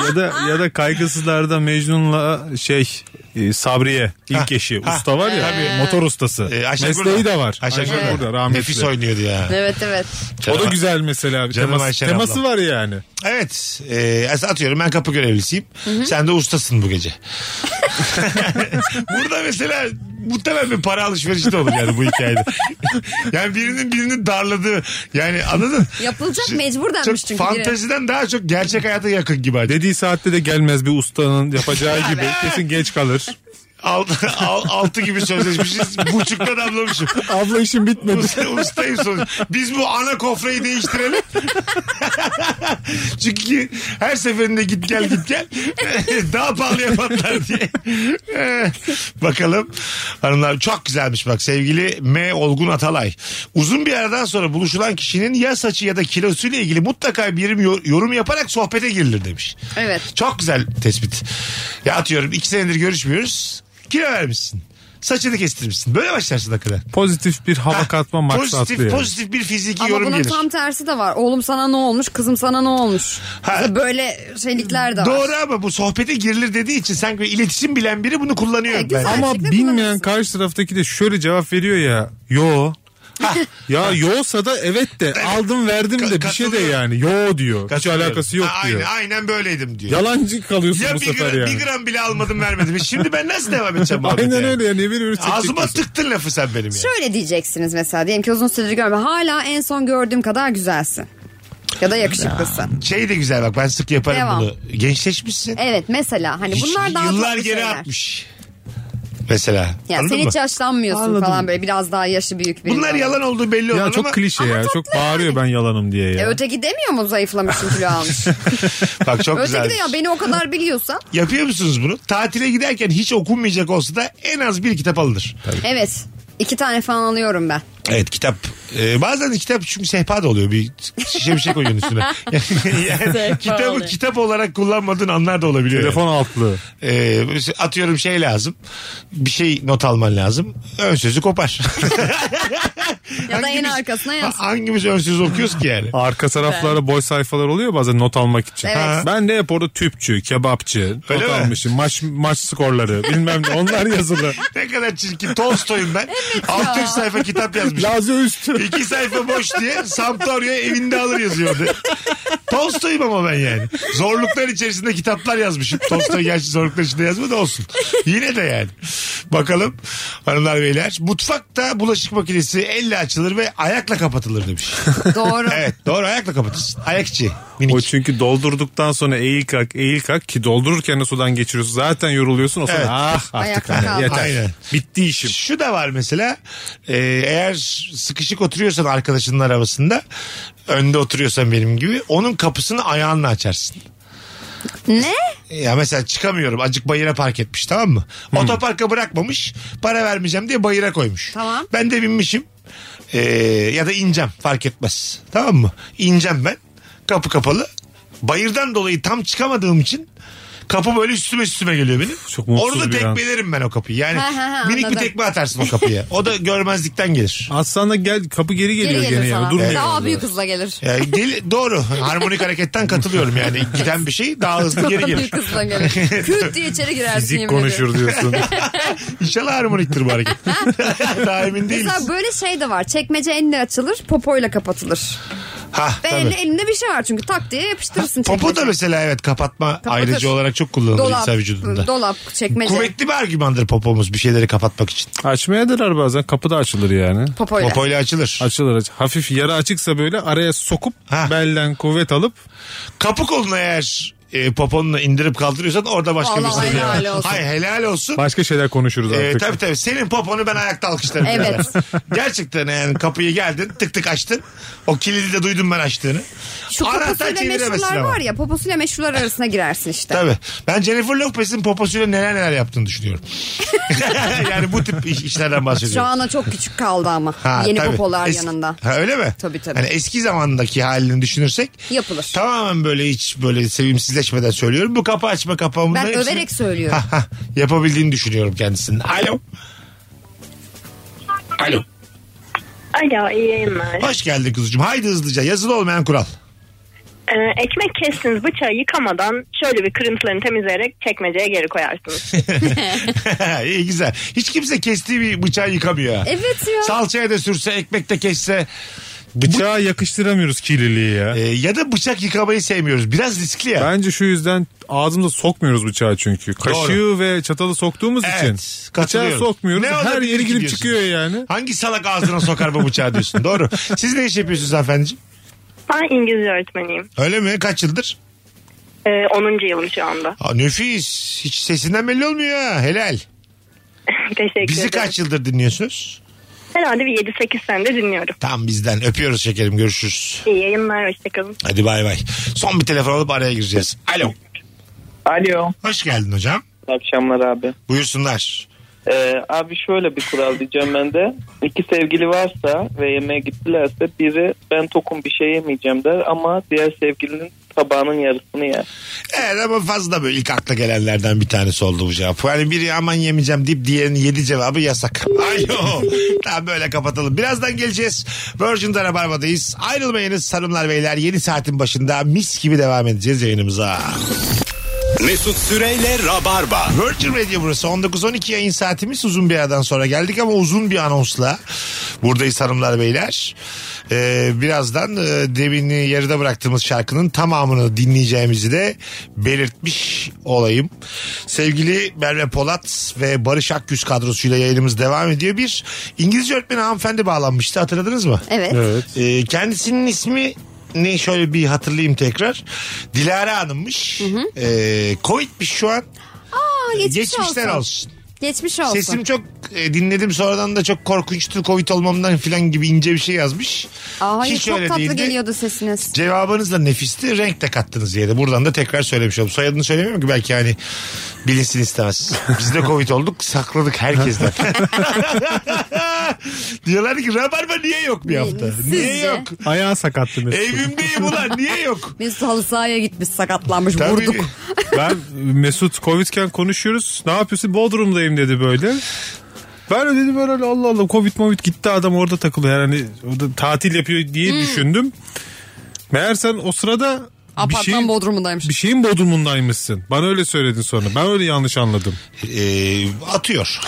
Speaker 5: ya da ya da kaygısızlarda Mecnun'la şey e, Sabriye ilk eşi
Speaker 3: ha.
Speaker 5: usta var ya motor ustası.
Speaker 3: Ee, Aşağı
Speaker 5: Mesleği
Speaker 3: burada.
Speaker 5: de var.
Speaker 3: Ayşe
Speaker 5: Ayşe
Speaker 3: burada.
Speaker 5: burada rahmetli.
Speaker 3: Nefis oynuyordu ya.
Speaker 4: Evet evet.
Speaker 5: O da güzel mesela bir
Speaker 3: Canım
Speaker 5: teması,
Speaker 3: Ayşen
Speaker 5: teması
Speaker 3: ablam.
Speaker 5: var yani.
Speaker 3: Evet. E, as- atıyorum ben kapı görevlisiyim. Sen de ustasın bu gece. Burada mesela muhtemelen bir para alışverişi de olur yani bu hikayede. yani birinin birini darladığı yani anladın?
Speaker 4: Yapılacak
Speaker 3: Şey-
Speaker 4: mecbur denmiş
Speaker 3: çok
Speaker 4: çünkü. biri.
Speaker 3: Fanteziden daha çok gerçek hayata yakın gibi. Hadi.
Speaker 5: Dediği saatte de gelmez bir ustanın yapacağı gibi kesin geç kalır.
Speaker 3: Altı, al- altı gibi sözleşmişiz. Buçukta damlamışım.
Speaker 5: Abla işim bitmedi.
Speaker 3: Usta, ustayım sonuç. Biz bu ana kofrayı değiştirelim. Çünkü her seferinde git gel git gel. Daha pahalıya patlar diye. Bakalım. Hanımlar çok güzelmiş bak sevgili M. Olgun Atalay. Uzun bir aradan sonra buluşulan kişinin ya saçı ya da kilosuyla ilgili mutlaka bir yo- yorum yaparak sohbete girilir demiş.
Speaker 4: Evet.
Speaker 3: Çok güzel tespit. Ya atıyorum iki senedir görüşmüyoruz. Kilo vermişsin. Saçını kestirmişsin. Böyle başlarsın hakikaten.
Speaker 5: Pozitif bir hava katma maksatlı
Speaker 3: Pozitif,
Speaker 5: yani.
Speaker 3: pozitif bir fiziki
Speaker 4: Ama
Speaker 3: yorum
Speaker 4: bunun
Speaker 3: gelir.
Speaker 4: tam tersi de var. Oğlum sana ne olmuş? Kızım sana ne olmuş?
Speaker 3: Ha.
Speaker 4: Böyle şeylikler de var.
Speaker 3: Doğru ama bu sohbete girilir dediği için sanki böyle iletişim bilen biri bunu kullanıyor.
Speaker 4: E,
Speaker 3: bence.
Speaker 4: güzel.
Speaker 5: Ama
Speaker 4: Gerçekten
Speaker 5: bilmeyen
Speaker 4: bulamazsın.
Speaker 5: karşı taraftaki de şöyle cevap veriyor ya. Yo. ya yo'sa da evet de aldım verdim
Speaker 3: Ka-
Speaker 5: de bir şey de
Speaker 3: katılıyorum.
Speaker 5: yani yo diyor. Hiç
Speaker 3: Katılıyorum.
Speaker 5: alakası yok
Speaker 3: Ha,
Speaker 5: diyor.
Speaker 3: Aynen, aynen böyleydim diyor.
Speaker 5: Yalancı kalıyorsun
Speaker 3: ya
Speaker 5: bu
Speaker 3: bir
Speaker 5: sefer
Speaker 3: gram,
Speaker 5: yani.
Speaker 3: bir gram bile almadım vermedim. E Şimdi ben nasıl devam edeceğim abi?
Speaker 5: Aynen öyle yani bir bir tek
Speaker 3: Ağzıma
Speaker 5: çekiyorsun.
Speaker 3: tıktın lafı sen benim ya.
Speaker 4: Şöyle diyeceksiniz mesela diyelim ki uzun süredir görmüyorum. Hala en son gördüğüm kadar güzelsin. Ya da yakışıklısın.
Speaker 3: Şey de güzel bak ben sık yaparım
Speaker 4: Devam.
Speaker 3: bunu. Gençleşmişsin.
Speaker 4: Evet mesela hani
Speaker 3: Hiç-
Speaker 4: bunlar daha
Speaker 3: yıllar
Speaker 4: tatlı
Speaker 3: geri
Speaker 4: şeyler.
Speaker 3: atmış. Mesela.
Speaker 4: Ya
Speaker 3: Anladın
Speaker 4: sen
Speaker 3: mı?
Speaker 4: hiç yaşlanmıyorsun falan böyle biraz daha yaşı büyük biri.
Speaker 3: Bunlar
Speaker 4: falan.
Speaker 3: yalan olduğu belli olan
Speaker 5: Ya çok
Speaker 3: ama
Speaker 5: klişe ya. Çok bağırıyor ben yalanım diye
Speaker 4: E
Speaker 5: ya.
Speaker 4: öteki demiyor mu zayıflamışsın kilo almış?
Speaker 3: bak çok güzel.
Speaker 4: öteki de ya beni o kadar biliyorsan.
Speaker 3: Yapıyor musunuz bunu? Tatile giderken hiç okunmayacak olsa da en az bir kitap alınır.
Speaker 4: Evet. iki tane falan alıyorum ben.
Speaker 3: Evet kitap. Ee, bazen de kitap çünkü sehpa da oluyor. Bir şişe bir şey koyuyorsun üstüne. Yani- yani kitabı
Speaker 4: oluyor.
Speaker 3: kitap olarak kullanmadığın anlar da olabiliyor. yani.
Speaker 5: Telefon altlığı.
Speaker 3: Ee, mesela atıyorum şey lazım. Bir şey not alman lazım. Ön sözü kopar.
Speaker 4: Ya da en
Speaker 3: Hangimiz-
Speaker 4: arkasına yaz.
Speaker 3: Hangimiz ön sözü okuyoruz ki yani?
Speaker 5: Arka taraflarda boş sayfalar oluyor bazen not almak için.
Speaker 4: Evet. Ha.
Speaker 5: Ben de hep orada tüpçü, kebapçı
Speaker 3: Öyle
Speaker 5: not
Speaker 3: mi?
Speaker 5: almışım. Maç maç skorları bilmem ne onlar yazılı.
Speaker 3: Ne kadar çirkin. Tolstoy'um ben. 600 sayfa kitap yazmışım.
Speaker 5: Lazio üstü.
Speaker 3: İki sayfa boş diye Sampdoria evinde alır yazıyordu. Tolstoy'um ama ben yani. Zorluklar içerisinde kitaplar yazmışım. Tolstoy gerçi zorluklar içinde yazmadı olsun. Yine de yani. Bakalım hanımlar beyler. Mutfakta bulaşık makinesi elle açılır ve ayakla kapatılır demiş.
Speaker 4: Doğru.
Speaker 3: evet doğru ayakla kapatırsın. Ayak içi. Minik.
Speaker 5: O çünkü doldurduktan sonra eğil kalk eğil kalk ki doldururken de sudan geçiriyorsun. Zaten yoruluyorsun o sonra
Speaker 3: Evet.
Speaker 5: ah artık
Speaker 4: Ayakta
Speaker 5: hani
Speaker 4: kal.
Speaker 5: yeter.
Speaker 3: Aynen.
Speaker 5: Bitti işim.
Speaker 3: Şu da var mesela e, eğer sıkışık oturuyorsan arkadaşının arabasında önde oturuyorsan benim gibi onun kapısını ayağınla açarsın.
Speaker 4: ne?
Speaker 3: Ya mesela çıkamıyorum acık bayıra park etmiş tamam mı?
Speaker 4: Hmm.
Speaker 3: Otoparka bırakmamış para vermeyeceğim diye bayıra koymuş.
Speaker 4: Tamam.
Speaker 3: Ben de binmişim Ee, ya da ineceğim fark etmez tamam mı? İneceğim ben kapı kapalı. Bayırdan dolayı tam çıkamadığım için kapı böyle üstüme üstüme geliyor benim.
Speaker 5: Çok mutsuz
Speaker 3: Orada
Speaker 5: bir an.
Speaker 3: tekmelerim ben o kapıyı. Yani
Speaker 4: Ha, ha, ha,
Speaker 3: minik bir
Speaker 4: anladım.
Speaker 3: tekme atarsın o kapıya. O da görmezlikten gelir.
Speaker 5: Aslında gel kapı geri
Speaker 4: Geri
Speaker 5: geliyor
Speaker 4: gelir
Speaker 5: gene
Speaker 4: sana.
Speaker 5: yani durmuyor.
Speaker 4: Daha
Speaker 5: orada.
Speaker 4: büyük hızla gelir.
Speaker 3: Yani deli- doğru. Harmonik hareketten katılıyorum yani. Giden bir şey daha hızlı geri
Speaker 4: Daha
Speaker 3: gelir.
Speaker 4: büyük hızla gelir. Küt diye içeri girersin
Speaker 5: Fizik
Speaker 4: yemin ediyorum.
Speaker 5: konuşur diyorsun.
Speaker 3: İnşallah harmoniktir bu hareket. daha emin değiliz.
Speaker 4: Mesela böyle şey de var. Çekmece elle açılır, popoyla kapatılır.
Speaker 3: Ha,
Speaker 4: Ve
Speaker 3: tabii.
Speaker 4: elinde, elinde bir şey var çünkü tak diye yapıştırırsın
Speaker 3: Popo da
Speaker 4: çekmeceye.
Speaker 3: mesela evet kapatma
Speaker 4: Kapatır.
Speaker 3: ayrıcı olarak çok kullanılır
Speaker 4: dolap,
Speaker 3: insan vücudunda.
Speaker 4: dolap, çekmece.
Speaker 3: Kuvvetli bir argümandır popomuz bir şeyleri kapatmak için.
Speaker 5: Açmaya derer bazen kapı da açılır yani.
Speaker 4: Popoyla.
Speaker 3: Popoyla açılır.
Speaker 5: Açılır aç. Hafif yara açıksa böyle araya sokup
Speaker 3: Ha.
Speaker 5: belden kuvvet alıp
Speaker 3: Kapı koluna eğer e, poponla indirip kaldırıyorsan orada başka
Speaker 4: Vallahi
Speaker 3: bir seviye
Speaker 4: helal
Speaker 3: var.
Speaker 4: olsun.
Speaker 3: Hayır helal olsun.
Speaker 5: Başka şeyler konuşuruz
Speaker 3: Ee,
Speaker 5: artık.
Speaker 3: tabii tabii. Senin poponu ben ayakta alkışlarım.
Speaker 4: Evet.
Speaker 3: Gerçekten yani kapıyı geldin tık tık açtın. O kilidi de duydum ben açtığını.
Speaker 4: Şu
Speaker 3: Anahtar
Speaker 4: poposuyla
Speaker 3: çeviremezsin
Speaker 4: meşrular
Speaker 3: ama.
Speaker 4: var ya poposuyla meşrular arasına girersin işte.
Speaker 3: Tabii. Ben Jennifer Lopez'in poposuyla neler neler yaptığını düşünüyorum. yani bu tip iş- işlerden bahsediyorum.
Speaker 4: Şu ana çok küçük kaldı ama.
Speaker 3: Ha,
Speaker 4: Yeni
Speaker 3: tabii.
Speaker 4: popolar
Speaker 3: Es-
Speaker 4: yanında.
Speaker 3: Ha, öyle mi?
Speaker 4: Tabii, tabii.
Speaker 3: Hani eski zamandaki halini düşünürsek
Speaker 4: Yapılır.
Speaker 3: tamamen böyle hiç böyle sevimsizleşmeden söylüyorum. Bu kapı açma kapağımı
Speaker 4: Ben
Speaker 3: da hepsini-
Speaker 4: överek söylüyorum.
Speaker 3: Ha, ha. yapabildiğini düşünüyorum kendisinin. Alo. Alo.
Speaker 8: Alo iyi yayınlar.
Speaker 3: Hoş geldin kuzucuğum. Haydi hızlıca yazılı olmayan kural.
Speaker 8: Ee, ekmek kestiğiniz bıçağı yıkamadan şöyle bir kırıntılarını temizleyerek çekmeceye geri koyarsınız.
Speaker 3: İyi güzel. Hiç kimse kestiği bir bıçağı yıkamıyor. ha.
Speaker 4: Evet ya.
Speaker 3: Salçaya da sürse, ekmekte kesse
Speaker 5: Bıçağa yakıştıramıyoruz kirliliği ya.
Speaker 3: e, ya da bıçak yıkamayı sevmiyoruz. Biraz riskli ya.
Speaker 5: Bence şu yüzden ağzımıza sokmuyoruz bıçağı çünkü. Kaşığı ve çatalı soktuğumuz
Speaker 3: Evet,
Speaker 5: için. Bıçağı
Speaker 3: katılıyorum.
Speaker 5: sokmuyoruz.
Speaker 3: Ne
Speaker 5: Her
Speaker 3: olabilir
Speaker 5: yeri
Speaker 3: ki
Speaker 5: girip
Speaker 3: diyorsun.
Speaker 5: çıkıyor yani.
Speaker 3: Hangi salak ağzına sokar bu bıçağı diyorsun. Doğru. Siz ne iş yapıyorsunuz hanımefendiciğim?
Speaker 8: Ben İngilizce öğretmeniyim.
Speaker 3: Öyle mi? Kaç yıldır?
Speaker 8: Ee, 10. yılım şu anda.
Speaker 3: Aa, nüfis. Hiç sesinden belli olmuyor ha. Helal.
Speaker 8: Teşekkür
Speaker 3: Bizi
Speaker 8: ederim.
Speaker 3: kaç yıldır dinliyorsunuz?
Speaker 8: Herhalde bir 7-8 senedir dinliyorum.
Speaker 3: Tam bizden. Öpüyoruz şekerim. Görüşürüz.
Speaker 8: İyi yayınlar hoşçakalın.
Speaker 3: Hadi bay bay. Son bir telefon alıp araya gireceğiz. Alo.
Speaker 9: Alo.
Speaker 3: Hoş geldin hocam.
Speaker 9: Akşamlar abi.
Speaker 3: Buyursunlar.
Speaker 9: Ee, abi şöyle bir kural diyeceğim ben de. İki sevgili varsa ve yemeğe gittilerse biri ben tokum bir şey yemeyeceğim der ama diğer sevgilinin tabağının yarısını yer.
Speaker 3: Evet ama fazla böyle ilk akla gelenlerden bir tanesi oldu bu cevap. Yani biri aman yemeyeceğim deyip diğerinin yedi cevabı yasak. Alo. tamam böyle kapatalım. Birazdan geleceğiz. Virgin'de Rabarba'dayız. Ayrılmayınız sarımlar beyler. Yeni saatin başında mis gibi devam edeceğiz yayınımıza.
Speaker 2: Mesut Süreyle Rabarba.
Speaker 3: Virgin Radio burası. 19-12 yayın saatimiz uzun bir aradan sonra geldik ama uzun bir anonsla buradayız hanımlar beyler. Ee, birazdan e, demini yarıda bıraktığımız şarkının tamamını dinleyeceğimizi de belirtmiş olayım. Sevgili Merve Polat ve Barış Akgüz kadrosuyla yayınımız devam ediyor. Bir İngilizce öğretmeni hanımefendi bağlanmıştı hatırladınız mı?
Speaker 4: Evet.
Speaker 3: Ee, kendisinin ismi ne şöyle bir hatırlayayım tekrar. Dilara Hanım'mış. Ee, Covid'miş şu an.
Speaker 4: Aa, geçmiş
Speaker 3: Geçmişler
Speaker 4: olsun.
Speaker 3: olsun.
Speaker 4: Geçmiş olsun.
Speaker 3: Sesim çok e, dinledim sonradan da çok korkunçtu Covid olmamdan filan gibi ince bir şey yazmış.
Speaker 4: Aa, hayır,
Speaker 3: Hiç
Speaker 4: çok
Speaker 3: öyle
Speaker 4: tatlı
Speaker 3: değildi.
Speaker 4: geliyordu sesiniz.
Speaker 3: Cevabınız da nefisti renk de kattınız diye de buradan da tekrar söylemiş oldum. Soyadını söylemiyorum ki belki hani bilinsin istemez. Biz de Covid olduk sakladık herkesten. Diyorlar ki rabarba niye yok bir hafta?
Speaker 4: Sizce?
Speaker 3: Niye yok?
Speaker 5: Ayağı sakattı Mesut.
Speaker 3: Evimdeyim ulan niye yok?
Speaker 4: Mesut halı sahaya gitmiş sakatlanmış
Speaker 3: Tabii. şey-
Speaker 4: vurduk.
Speaker 5: ben Mesut Covid'ken konuşuyoruz. Ne yapıyorsun? Bodrum'dayım dedi böyle. Ben de dedim böyle Allah Allah Covid Covid gitti adam orada takılıyor. Yani hani orada tatil yapıyor
Speaker 3: Hmm.
Speaker 5: diye düşündüm. Meğersen o sırada bir
Speaker 4: Apartman
Speaker 5: şeyin,
Speaker 4: bodrumundaymış.
Speaker 5: bir şeyin bodrumundaymışsın. Bana öyle söyledin sonra. Ben öyle yanlış anladım.
Speaker 3: Ee, atıyor.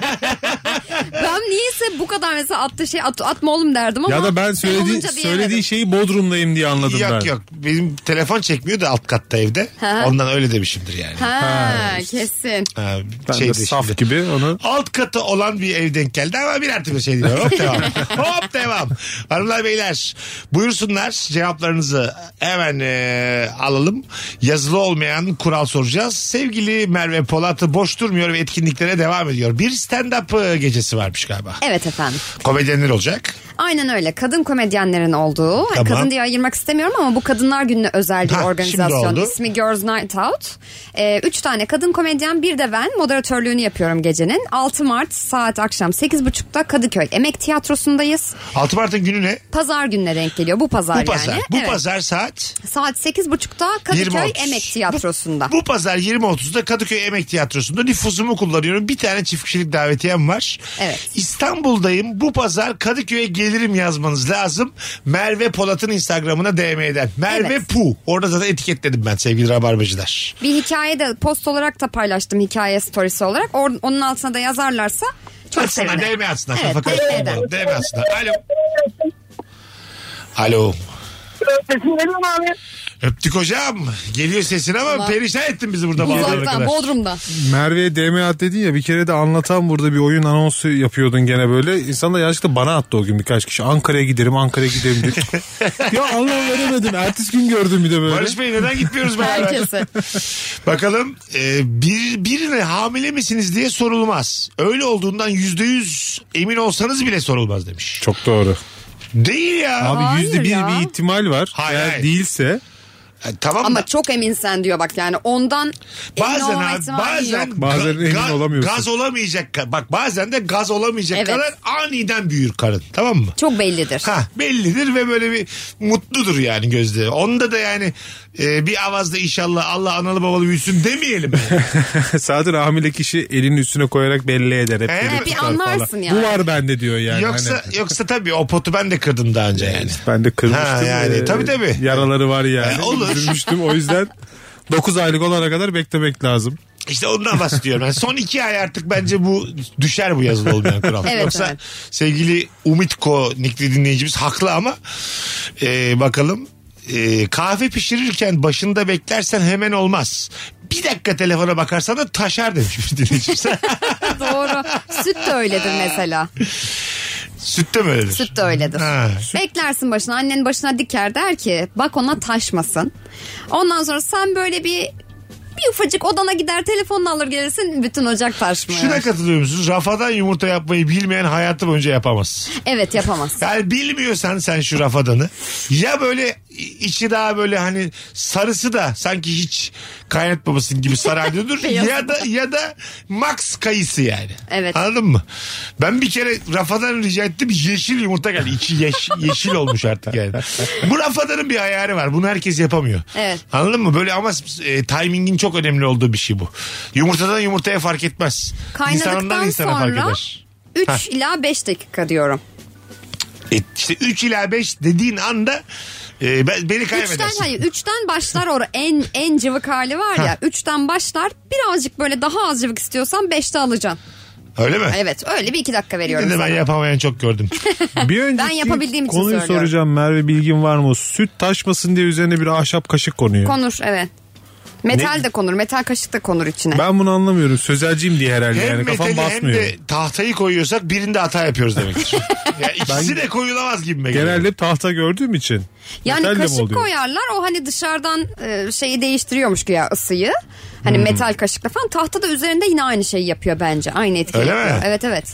Speaker 3: şey-
Speaker 4: Ben niyeyse bu kadar mesela attığı şey at, atma oğlum derdim ama.
Speaker 5: ya da ben söyledi,
Speaker 4: olunca diyemedim.
Speaker 3: şey-
Speaker 5: söylediği şeyi bodrumdayım diye anladım ben.
Speaker 3: yok yok benim telefon çekmiyor da alt katta evde.
Speaker 4: Ha.
Speaker 3: Ondan öyle demişimdir yani.
Speaker 4: Ha, kesin.
Speaker 3: Ha,
Speaker 5: Ben
Speaker 3: şeydi
Speaker 5: de saf
Speaker 3: şimdi.
Speaker 5: gibi onu
Speaker 3: alt katı olan bir ev denk geldi ama bir artı bir şey değil. Hop devam. Hop devam. Hanımlar beyler buyursunlar cevaplarınızı hemen e, alalım. Yazılı olmayan kural soracağız. Sevgili Merve Polat'ı boş durmuyor ve etkinliklere devam ediyor. Bir stand-up e, gecesi varmış galiba.
Speaker 4: Evet efendim.
Speaker 3: Komedyenler olacak.
Speaker 4: Aynen öyle. Kadın komedyenlerin olduğu.
Speaker 3: Tamam.
Speaker 4: Kadın diye ayırmak istemiyorum ama bu Kadınlar Günü'ne özel
Speaker 3: Ha,
Speaker 4: bir
Speaker 3: şimdi
Speaker 4: organizasyon.
Speaker 3: oldu.
Speaker 4: İsmi Girls Night Out. Ee, üç tane kadın komedyen bir de ben moderatörlüğünü yapıyorum gecenin. 6 Mart saat akşam 8.30'da Kadıköy Emek Tiyatrosu'ndayız.
Speaker 3: 6 Mart'ın günü ne?
Speaker 4: Pazar gününe denk geliyor. Bu pazar
Speaker 3: Bu pazar.
Speaker 4: yani.
Speaker 3: Bu
Speaker 4: Evet.
Speaker 3: pazar saat
Speaker 4: Saat 8.30'da Kadıköy
Speaker 3: 20.30.
Speaker 4: Emek Tiyatrosu'nda.
Speaker 3: Bu pazar 20.30'da Kadıköy Emek Tiyatrosu'nda nüfuzumu kullanıyorum. Bir tane çift kişilik davetiyem var.
Speaker 4: Evet.
Speaker 3: İstanbul'dayım. Bu pazar Kadıköy'e gelirim yazmanız lazım. Merve Polat'ın Instagram'ına DM'den. Merve
Speaker 4: Evet.
Speaker 3: Pu. Orada zaten etiketledim ben sevgili rabarbacılar.
Speaker 4: Bir hikaye de post olarak da paylaştım hikaye storisi olarak. Or- onun altına da yazarlarsa çok
Speaker 3: Atsınlar
Speaker 4: sevinirim.
Speaker 3: DM atsınlar.
Speaker 4: Evet,
Speaker 3: Kafa karıştırmayalım. DM atsınlar. Alo. Alo.
Speaker 9: Sesin geliyor mu abi?
Speaker 3: Öptük hocam. Geliyor sesin ama
Speaker 4: Ulan.
Speaker 3: perişan ettin bizi burada bağlanana
Speaker 4: Uzaktan,
Speaker 3: kadar.
Speaker 4: Bodrum'da.
Speaker 5: Merve'ye DM at dedin ya bir kere de anlatan burada bir oyun anonsu yapıyordun gene böyle. İnsan da yanlışlıkla bana attı o gün birkaç kişi. Ankara'ya giderim Ankara'ya giderim dedi. ya Allah veremedim. Ertesi gün gördüm bir de böyle.
Speaker 3: Barış Bey neden gitmiyoruz beraber?
Speaker 4: Herkese.
Speaker 3: Bakalım e, bir, birine hamile misiniz diye sorulmaz. Öyle olduğundan yüzde yüz emin olsanız bile sorulmaz demiş.
Speaker 5: Çok doğru.
Speaker 3: Değil ya.
Speaker 5: Abi
Speaker 4: Hayır
Speaker 5: yüzde bir
Speaker 4: ya.
Speaker 5: bir ihtimal var.
Speaker 3: Hayır,
Speaker 5: Eğer
Speaker 3: hayır.
Speaker 5: değilse
Speaker 3: E, tamam
Speaker 4: Ama
Speaker 3: da
Speaker 4: çok eminsen diyor bak yani ondan emin
Speaker 3: bazen
Speaker 4: olma
Speaker 3: abi,
Speaker 4: ihtimali
Speaker 3: bazen
Speaker 4: yok.
Speaker 5: Bazen emin olamıyorsun.
Speaker 3: Gaz olamayacak. ka- Bak bazen de gaz olamayacak
Speaker 4: Evet.
Speaker 3: kadar aniden büyür karın. Tamam mı?
Speaker 4: Çok bellidir.
Speaker 3: Ha bellidir ve böyle bir mutludur yani gözde. Onda da yani e, bir avazda inşallah Allah analı babalı büyüsün demeyelim.
Speaker 5: zaten hamile kişi elinin üstüne koyarak belli eder. Hep
Speaker 3: He?
Speaker 5: böyle
Speaker 3: Bir
Speaker 5: tutar falan.
Speaker 4: anlarsın yani.
Speaker 5: Bu var bende diyor yani.
Speaker 3: yoksa
Speaker 5: Hani-
Speaker 3: yoksa tabii o potu ben de kırdım daha önce yani.
Speaker 5: Ben de kırmıştım.
Speaker 3: Ha, yani.
Speaker 5: Ee,
Speaker 3: Tabii, tabii.
Speaker 5: Yaraları var yani.
Speaker 3: E, olur.
Speaker 5: Üzülmüştüm. o yüzden 9 aylık olana kadar beklemek lazım.
Speaker 3: İşte ondan bahsediyorum. Yani son iki ay artık bence bu düşer bu yazılı olmayan kural.
Speaker 4: Evet,
Speaker 3: Yoksa
Speaker 4: evet.
Speaker 3: sevgili Umitko nikli dinleyicimiz haklı ama e, bakalım. E, kahve pişirirken başında beklersen hemen olmaz. Bir dakika telefona bakarsan da taşar demiş bir dinleyicimiz.
Speaker 4: Doğru. Süt de öyledir mesela.
Speaker 3: Sütte mi öyledir?
Speaker 4: Süt de öyledir.
Speaker 3: Ha.
Speaker 4: Beklersin başına annenin başına diker der ki bak ona taşmasın. Ondan sonra sen böyle bir bir ufacık odana gider telefonunu alır gelirsin bütün ocak taşmıyor.
Speaker 3: Şuna katılıyor musunuz? Rafadan yumurta yapmayı bilmeyen hayatı boyunca yapamaz.
Speaker 4: Evet yapamaz.
Speaker 3: Yani bilmiyorsan sen şu rafadanı ya böyle içi daha böyle hani sarısı da sanki hiç kaynatmamışsın gibi sarardıyordur
Speaker 4: Beyazı
Speaker 3: ya da ya da max kayısı yani.
Speaker 4: Evet.
Speaker 3: Anladın mı? Ben bir kere rafadan rica ettim yeşil yumurta geldi. İçi yeş- yeşil olmuş artık yani. Bu rafadanın bir ayarı var. Bunu herkes yapamıyor.
Speaker 4: Evet.
Speaker 3: Anladın mı? Böyle ama e, timingin çok önemli olduğu bir şey bu. Yumurtadan yumurtaya fark etmez. İnsanından
Speaker 4: Kaynadıktan
Speaker 3: insana fark
Speaker 4: sonra
Speaker 3: eder.
Speaker 4: 3 ila 5 dakika diyorum.
Speaker 3: E, işte 3 ila 5 dediğin anda e, ben, beni
Speaker 4: Üçten
Speaker 3: kaybedersin.
Speaker 4: hayır üçten başlar or en en cıvık hali var ya. Üçten başlar birazcık böyle daha az cıvık istiyorsan beşte alacaksın.
Speaker 3: Öyle mi?
Speaker 4: Evet öyle bir iki dakika
Speaker 3: Bir
Speaker 4: veriyorum.
Speaker 3: de ben
Speaker 4: sana.
Speaker 3: yapamayan çok gördüm.
Speaker 5: Bir önceki
Speaker 4: Ben yapabildiğim için
Speaker 5: konuyu
Speaker 4: söylüyorum.
Speaker 5: soracağım Merve bilgin var mı? Süt taşmasın diye üzerine bir ahşap kaşık konuyor.
Speaker 4: Konur evet. Metal de konur metal kaşık da konur içine.
Speaker 5: ben bunu anlamıyorum. Sözelciyim diye herhalde
Speaker 3: hem
Speaker 5: yani kafam
Speaker 3: metali hem
Speaker 5: basmıyor.
Speaker 3: de tahtayı koyuyorsak birinde hata yapıyoruz demektir. ya ikisi de koyulamaz gibi.
Speaker 5: Genelde hep tahta gördüğüm için.
Speaker 4: Yani
Speaker 5: Metal de mi
Speaker 4: kaşık
Speaker 5: oluyor?
Speaker 4: koyarlar o hani dışarıdan e, şeyi değiştiriyormuş ki ya ısıyı. Hani
Speaker 3: Hmm.
Speaker 4: metal kaşıkla falan tahta da üzerinde yine aynı şeyi yapıyor bence. Aynı etkiyi
Speaker 3: Öyle
Speaker 4: yapıyor.
Speaker 3: mi?
Speaker 4: Evet evet.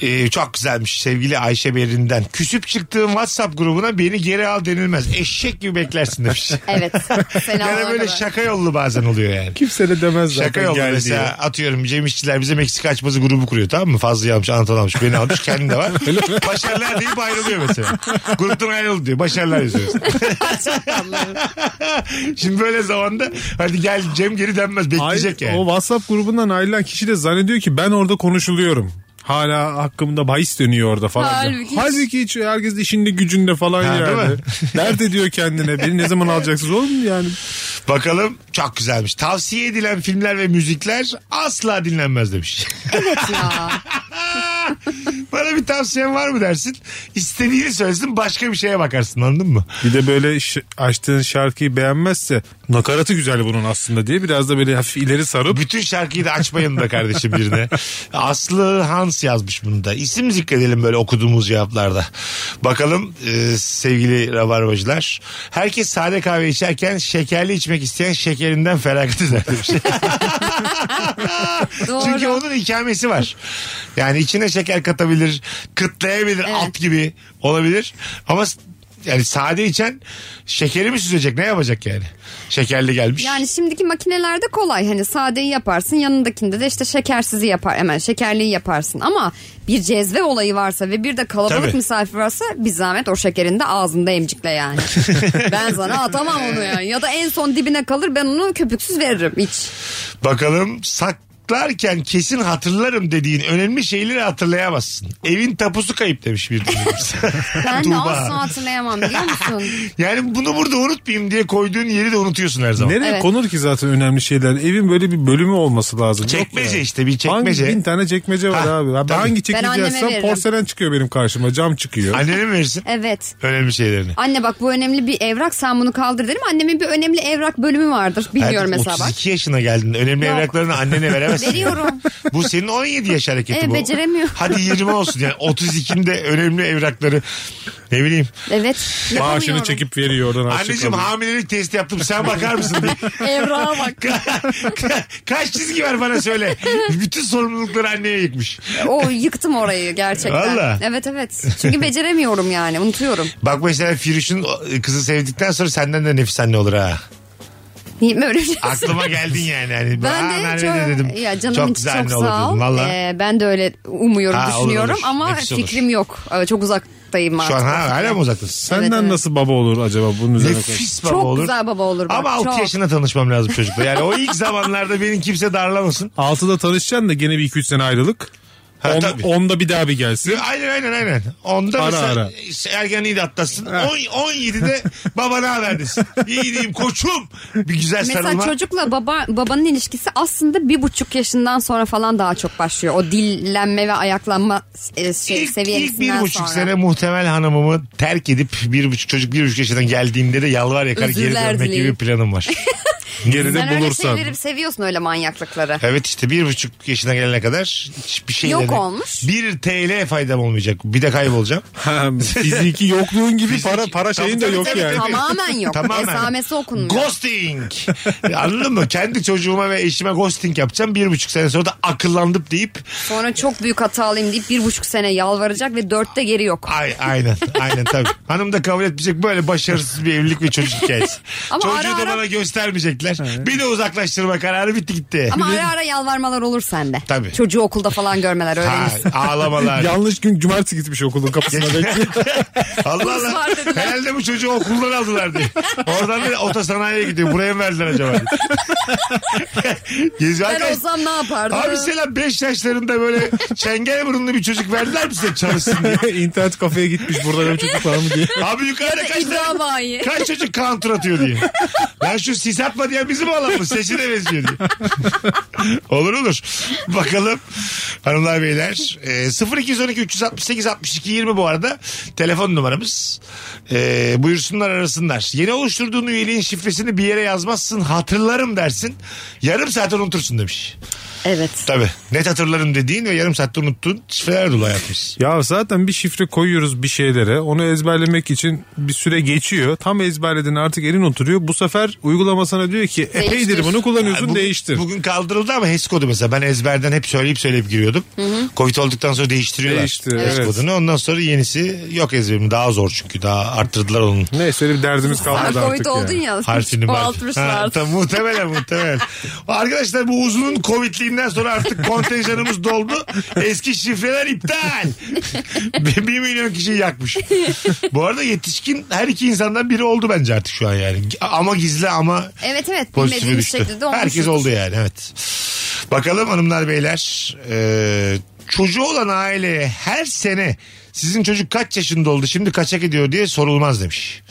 Speaker 3: Ee, çok güzelmiş sevgili Ayşe Berin'den. Küsüp çıktığım WhatsApp grubuna beni geri al denilmez. Eşek gibi beklersin demiş.
Speaker 4: Evet. Fena
Speaker 3: Yani
Speaker 4: olana
Speaker 3: böyle
Speaker 4: kadar.
Speaker 3: şaka yollu bazen oluyor yani.
Speaker 5: Kimse de demez zaten
Speaker 3: Şaka yollu
Speaker 5: gel
Speaker 3: mesela
Speaker 5: diye.
Speaker 3: atıyorum Cem İşçiler bize Meksika açması grubu kuruyor tamam mı? Fazla almış, Antal almış, beni almış, kendim de var. Başarılar deyip ayrılıyor mesela. Gruptan ayrıldı diyor. Başarılar yazıyoruz. Şimdi böyle zamanda hadi gel Cem geri denmez bekleyecek
Speaker 5: Ay-
Speaker 3: yani.
Speaker 5: O WhatsApp grubundan ayrılan kişi de zannediyor ki ben orada konuşuluyorum. Hala hakkımda bahis dönüyor orada falan.
Speaker 4: Halbuki
Speaker 5: Halbuki,
Speaker 4: hiç-
Speaker 5: hiç herkes işinde gücünde falan
Speaker 3: Ha, değil
Speaker 5: yani.
Speaker 3: mi?
Speaker 5: Dert ediyor kendine. Beni ne zaman alacaksınız oğlum yani.
Speaker 3: Bakalım çok güzelmiş. Tavsiye edilen filmler ve müzikler asla dinlenmez demiş.
Speaker 4: Evet ya.
Speaker 3: Bana bir tavsiyen var mı dersin? İstediğini söylesin başka bir şeye bakarsın anladın mı?
Speaker 5: Bir de böyle ş- açtığın şarkıyı beğenmezse nakaratı güzel bunun aslında diye biraz da böyle hafif ileri sarıp
Speaker 3: Bütün şarkıyı da açmayın da kardeşim birine. Aslı Hans yazmış bunu da. İsim zikredelim böyle okuduğumuz cevaplarda. Bakalım e, sevgili rabarbacılar. Herkes sade kahve içerken şekerli içmek isteyen şekerinden feragat eder demiş.
Speaker 4: Doğru.
Speaker 3: Çünkü onun ikamesi var. Yani içine şeker katabilir, kıtlayabilir,
Speaker 4: Evet.
Speaker 3: alt gibi olabilir. Ama s- yani sade içen şekeri mi süzecek ne yapacak yani? Şekerli gelmiş.
Speaker 4: Yani şimdiki makinelerde kolay hani sadeyi yaparsın yanındakinde de işte şekersizi yapar hemen şekerliyi yaparsın ama bir cezve olayı varsa ve bir de kalabalık
Speaker 3: Tabii.
Speaker 4: misafir varsa bir zahmet o şekerin de ağzında emcikle yani. ben sana atamam onu yani ya da en son dibine kalır ben onu köpüksüz veririm iç.
Speaker 3: Bakalım sak hatırlarken kesin hatırlarım dediğin önemli şeyleri hatırlayamazsın. Evin tapusu kayıp demiş bir dinleyicimiz.
Speaker 4: Ben de
Speaker 3: Tuğba.
Speaker 4: asla hatırlayamam biliyor musun?
Speaker 3: Yani bunu burada unutmayayım diye koyduğun yeri de unutuyorsun her zaman.
Speaker 5: Nereye
Speaker 4: Evet.
Speaker 5: konur ki zaten önemli şeyler? Evin böyle bir bölümü olması lazım. Yok
Speaker 3: Çekmece
Speaker 5: ya.
Speaker 3: işte, bir çekmece.
Speaker 5: Hangi bin tane çekmece var
Speaker 3: Ha,
Speaker 5: abi. Ben
Speaker 3: tabii.
Speaker 5: hangi
Speaker 4: Ben
Speaker 5: çekmece
Speaker 4: anneme
Speaker 5: açsam
Speaker 4: veririm.
Speaker 5: porselen çıkıyor benim karşıma. Cam çıkıyor.
Speaker 3: Annene mi verirsin?
Speaker 4: Evet.
Speaker 3: Önemli şeylerini.
Speaker 4: Anne bak bu önemli bir evrak sen bunu kaldır derim. Annemin bir önemli evrak bölümü vardır. Bilmiyorum
Speaker 3: Hayatım,
Speaker 4: mesela bak.
Speaker 3: 32 yaşına geldin. Önemli
Speaker 4: Yok.
Speaker 3: evraklarını annene veremezsin.
Speaker 4: Veriyorum.
Speaker 3: bu senin 17 yaş hareketi
Speaker 4: Evet,
Speaker 3: bu.
Speaker 4: beceremiyorum.
Speaker 3: Hadi 20 olsun yani 32'nde önemli evrakları ne bileyim.
Speaker 4: Evet.
Speaker 5: Maaşını
Speaker 4: yapamıyorum.
Speaker 5: çekip veriyor oradan harçlık
Speaker 3: Anneciğim
Speaker 5: alıyor.
Speaker 3: hamilelik testi yaptım sen bakar mısın diye.
Speaker 4: Evrağa bak.
Speaker 3: Ka- Kaç çizgi var bana söyle. Bütün sorumlulukları anneye yıkmış.
Speaker 4: O yıktım orayı gerçekten.
Speaker 3: Valla.
Speaker 4: Evet evet. Çünkü beceremiyorum yani unutuyorum.
Speaker 3: Bak mesela Firuş'un e, kızı sevdikten sonra senden de nefis anne olur ha.
Speaker 4: Niye böyle bir şey
Speaker 3: Aklıma geldin yani. yani.
Speaker 4: Ben
Speaker 3: Aa,
Speaker 4: de
Speaker 3: Merve
Speaker 4: çok,
Speaker 3: dedim.
Speaker 4: ya canım
Speaker 3: çok
Speaker 4: çok,
Speaker 3: güzel
Speaker 4: çok
Speaker 3: anne olur
Speaker 4: sağ ol.
Speaker 3: dedim. Valla.
Speaker 4: Ee, ben de öyle umuyorum,
Speaker 3: Ha, olur,
Speaker 4: düşünüyorum
Speaker 3: olur.
Speaker 4: ama
Speaker 3: Nefis olur.
Speaker 4: fikrim yok. Ee, Çok uzaktayım artık.
Speaker 3: Şu an ha, hala mı uzaktasın?
Speaker 5: Senden
Speaker 4: Evet, evet.
Speaker 5: nasıl baba olur acaba bunun üzerine? konuş-
Speaker 3: Nefis baba
Speaker 4: Çok
Speaker 3: olur.
Speaker 4: güzel baba olur bak.
Speaker 3: Ama 6
Speaker 4: çok.
Speaker 3: yaşında tanışmam lazım çocukla. Yani o ilk zamanlarda beni kimse darlamasın.
Speaker 5: Altıda tanışacaksın da gene bir iki üç sene ayrılık.
Speaker 3: Ha,
Speaker 5: On-
Speaker 3: tabii.
Speaker 5: onda bir daha bir gelsin.
Speaker 3: Aynen aynen aynen. Onda
Speaker 5: Ara
Speaker 3: mesela
Speaker 5: ara.
Speaker 3: ergenliği de atlatsın. On- 17'de baba ne haber desin. İyi gideyim koçum. Bir güzel
Speaker 4: Mesela
Speaker 3: sarılma.
Speaker 4: çocukla baba babanın ilişkisi aslında bir buçuk yaşından sonra falan daha çok başlıyor. O dillenme ve ayaklanma e, şey,
Speaker 3: İlk, ilk
Speaker 4: seviyesinden
Speaker 3: bir buçuk
Speaker 4: sonra.
Speaker 3: sene muhtemel hanımımı terk edip bir buçuk çocuk bir buçuk yaşından geldiğinde de yalvar yakar geri
Speaker 4: Özürler
Speaker 3: dönmek gibi bir
Speaker 4: dileyim.
Speaker 3: planım var.
Speaker 5: Geride
Speaker 4: Sen öyle
Speaker 5: bulursan.
Speaker 4: şeyleri seviyorsun öyle manyaklıkları.
Speaker 3: evet işte bir buçuk yaşına gelene kadar hiçbir şey
Speaker 4: Yok olmuş.
Speaker 3: Bir TL faydam olmayacak. Bir de kaybolacağım.
Speaker 5: Ha, Fiziki yokluğun gibi
Speaker 3: Fiziki-
Speaker 5: para para şeyin de
Speaker 3: Tabii,
Speaker 5: yok
Speaker 3: tabii,
Speaker 5: yani.
Speaker 3: tabii.
Speaker 4: Tamamen yok. Esamesi okunmuyor.
Speaker 3: Ghosting. Anladın mı? Kendi çocuğuma ve eşime ghosting yapacağım. Bir buçuk sene sonra da akıllandıp deyip
Speaker 4: Sonra çok büyük hatalıyım deyip bir buçuk sene yalvaracak ve dörtte geri yok.
Speaker 3: ay, aynen aynen tabii. Hanım da kabul etmeyecek böyle başarısız bir evlilik ve çocuk hikayesi.
Speaker 4: Ama
Speaker 3: Çocuğu
Speaker 4: ara
Speaker 3: da
Speaker 4: ara-
Speaker 3: bana göstermeyecekler. Bir de uzaklaştırma kararı bitti gitti.
Speaker 4: Ama ara ara yalvarmalar olur sende.
Speaker 3: Tabii.
Speaker 4: Çocuğu okulda falan görmeler
Speaker 3: Ha,
Speaker 4: öğrenirsin.
Speaker 3: ağlamalar.
Speaker 5: Yanlış gün cumartesi gitmiş okulun kapısına bekliyor.
Speaker 3: Allah
Speaker 4: Kurs
Speaker 3: Allah.
Speaker 4: var dediler.
Speaker 3: Herhalde bu çocuğu okuldan aldılar diye. Oradan bir otosanayiye gidiyor. Buraya mı verdiler acaba? diye. Geziyor
Speaker 4: Ben
Speaker 3: arkadaş.
Speaker 4: olsam ne yapardım?
Speaker 3: Abi selam 5 yaşlarında böyle çengel burunlu bir çocuk verdiler mi size çalışsın diye.
Speaker 5: İnternet kafeye gitmiş burada benim çocuk var mı diye.
Speaker 3: Abi
Speaker 4: Ya da
Speaker 3: yukarıda kaç
Speaker 4: İbrahim
Speaker 3: tane...
Speaker 4: Ağa'yı.
Speaker 3: Kaç çocuk counter atıyor diye. Ben şu sis atma diye bizim oğlan mı? Sesi de benziyor diye. olur olur. Bakalım hanımlar beyler. E, 0212 368 62 20 bu arada. Telefon numaramız. E, buyursunlar arasınlar. Yeni oluşturduğun üyeliğin şifresini bir yere yazmazsın hatırlarım dersin. Yarım saat unutursun demiş.
Speaker 4: Evet.
Speaker 3: Tabii. Net hatırlarım dediğin ve yarım saatte unuttuğun şifreler dolu hayatımız.
Speaker 5: Ya zaten bir şifre koyuyoruz bir şeylere. Onu ezberlemek için bir süre geçiyor. Tam ezberledin artık elin oturuyor. Bu sefer uygulama sana diyor ki epeydir
Speaker 4: Değiştir.
Speaker 5: bunu kullanıyorsun
Speaker 3: Bugün-
Speaker 5: değiştir.
Speaker 3: Bugün kaldırıldı ama HES kodu mesela ben ezberden hep söyleyip söyleyip giriyordum. Covid olduktan sonra değiştiriyorlar.
Speaker 5: Değişti,
Speaker 3: HES
Speaker 5: evet.
Speaker 3: kodunu ondan sonra yenisi yok ezberim daha zor çünkü daha arttırdılar onun.
Speaker 5: Neyse öyle bir derdimiz
Speaker 4: Sen
Speaker 5: kalmadı
Speaker 4: Covid
Speaker 5: artık.
Speaker 4: oldun
Speaker 5: ya.
Speaker 4: ya.
Speaker 3: Harfini
Speaker 4: Çoğaltmışlar.
Speaker 3: Ha, tam, muhtemelen muhtemelen. Arkadaşlar bu uzunun Covid'liğinden sonra artık kontenjanımız doldu. Eski şifreler iptal. Bir bir milyon kişiyi yakmış. Bu arada yetişkin her iki insandan biri oldu bence artık şu an yani. Ama gizli ama
Speaker 4: Evet evet
Speaker 3: pozitife
Speaker 4: bilmediğim bir
Speaker 3: düştü.
Speaker 4: şekilde olmuş.
Speaker 3: Herkes oldu yani evet. Bakalım hanımlar beyler. Ee, çocuğu olan aileye her sene sizin çocuk kaç yaşında oldu şimdi kaçak ediyor diye sorulmaz demiş.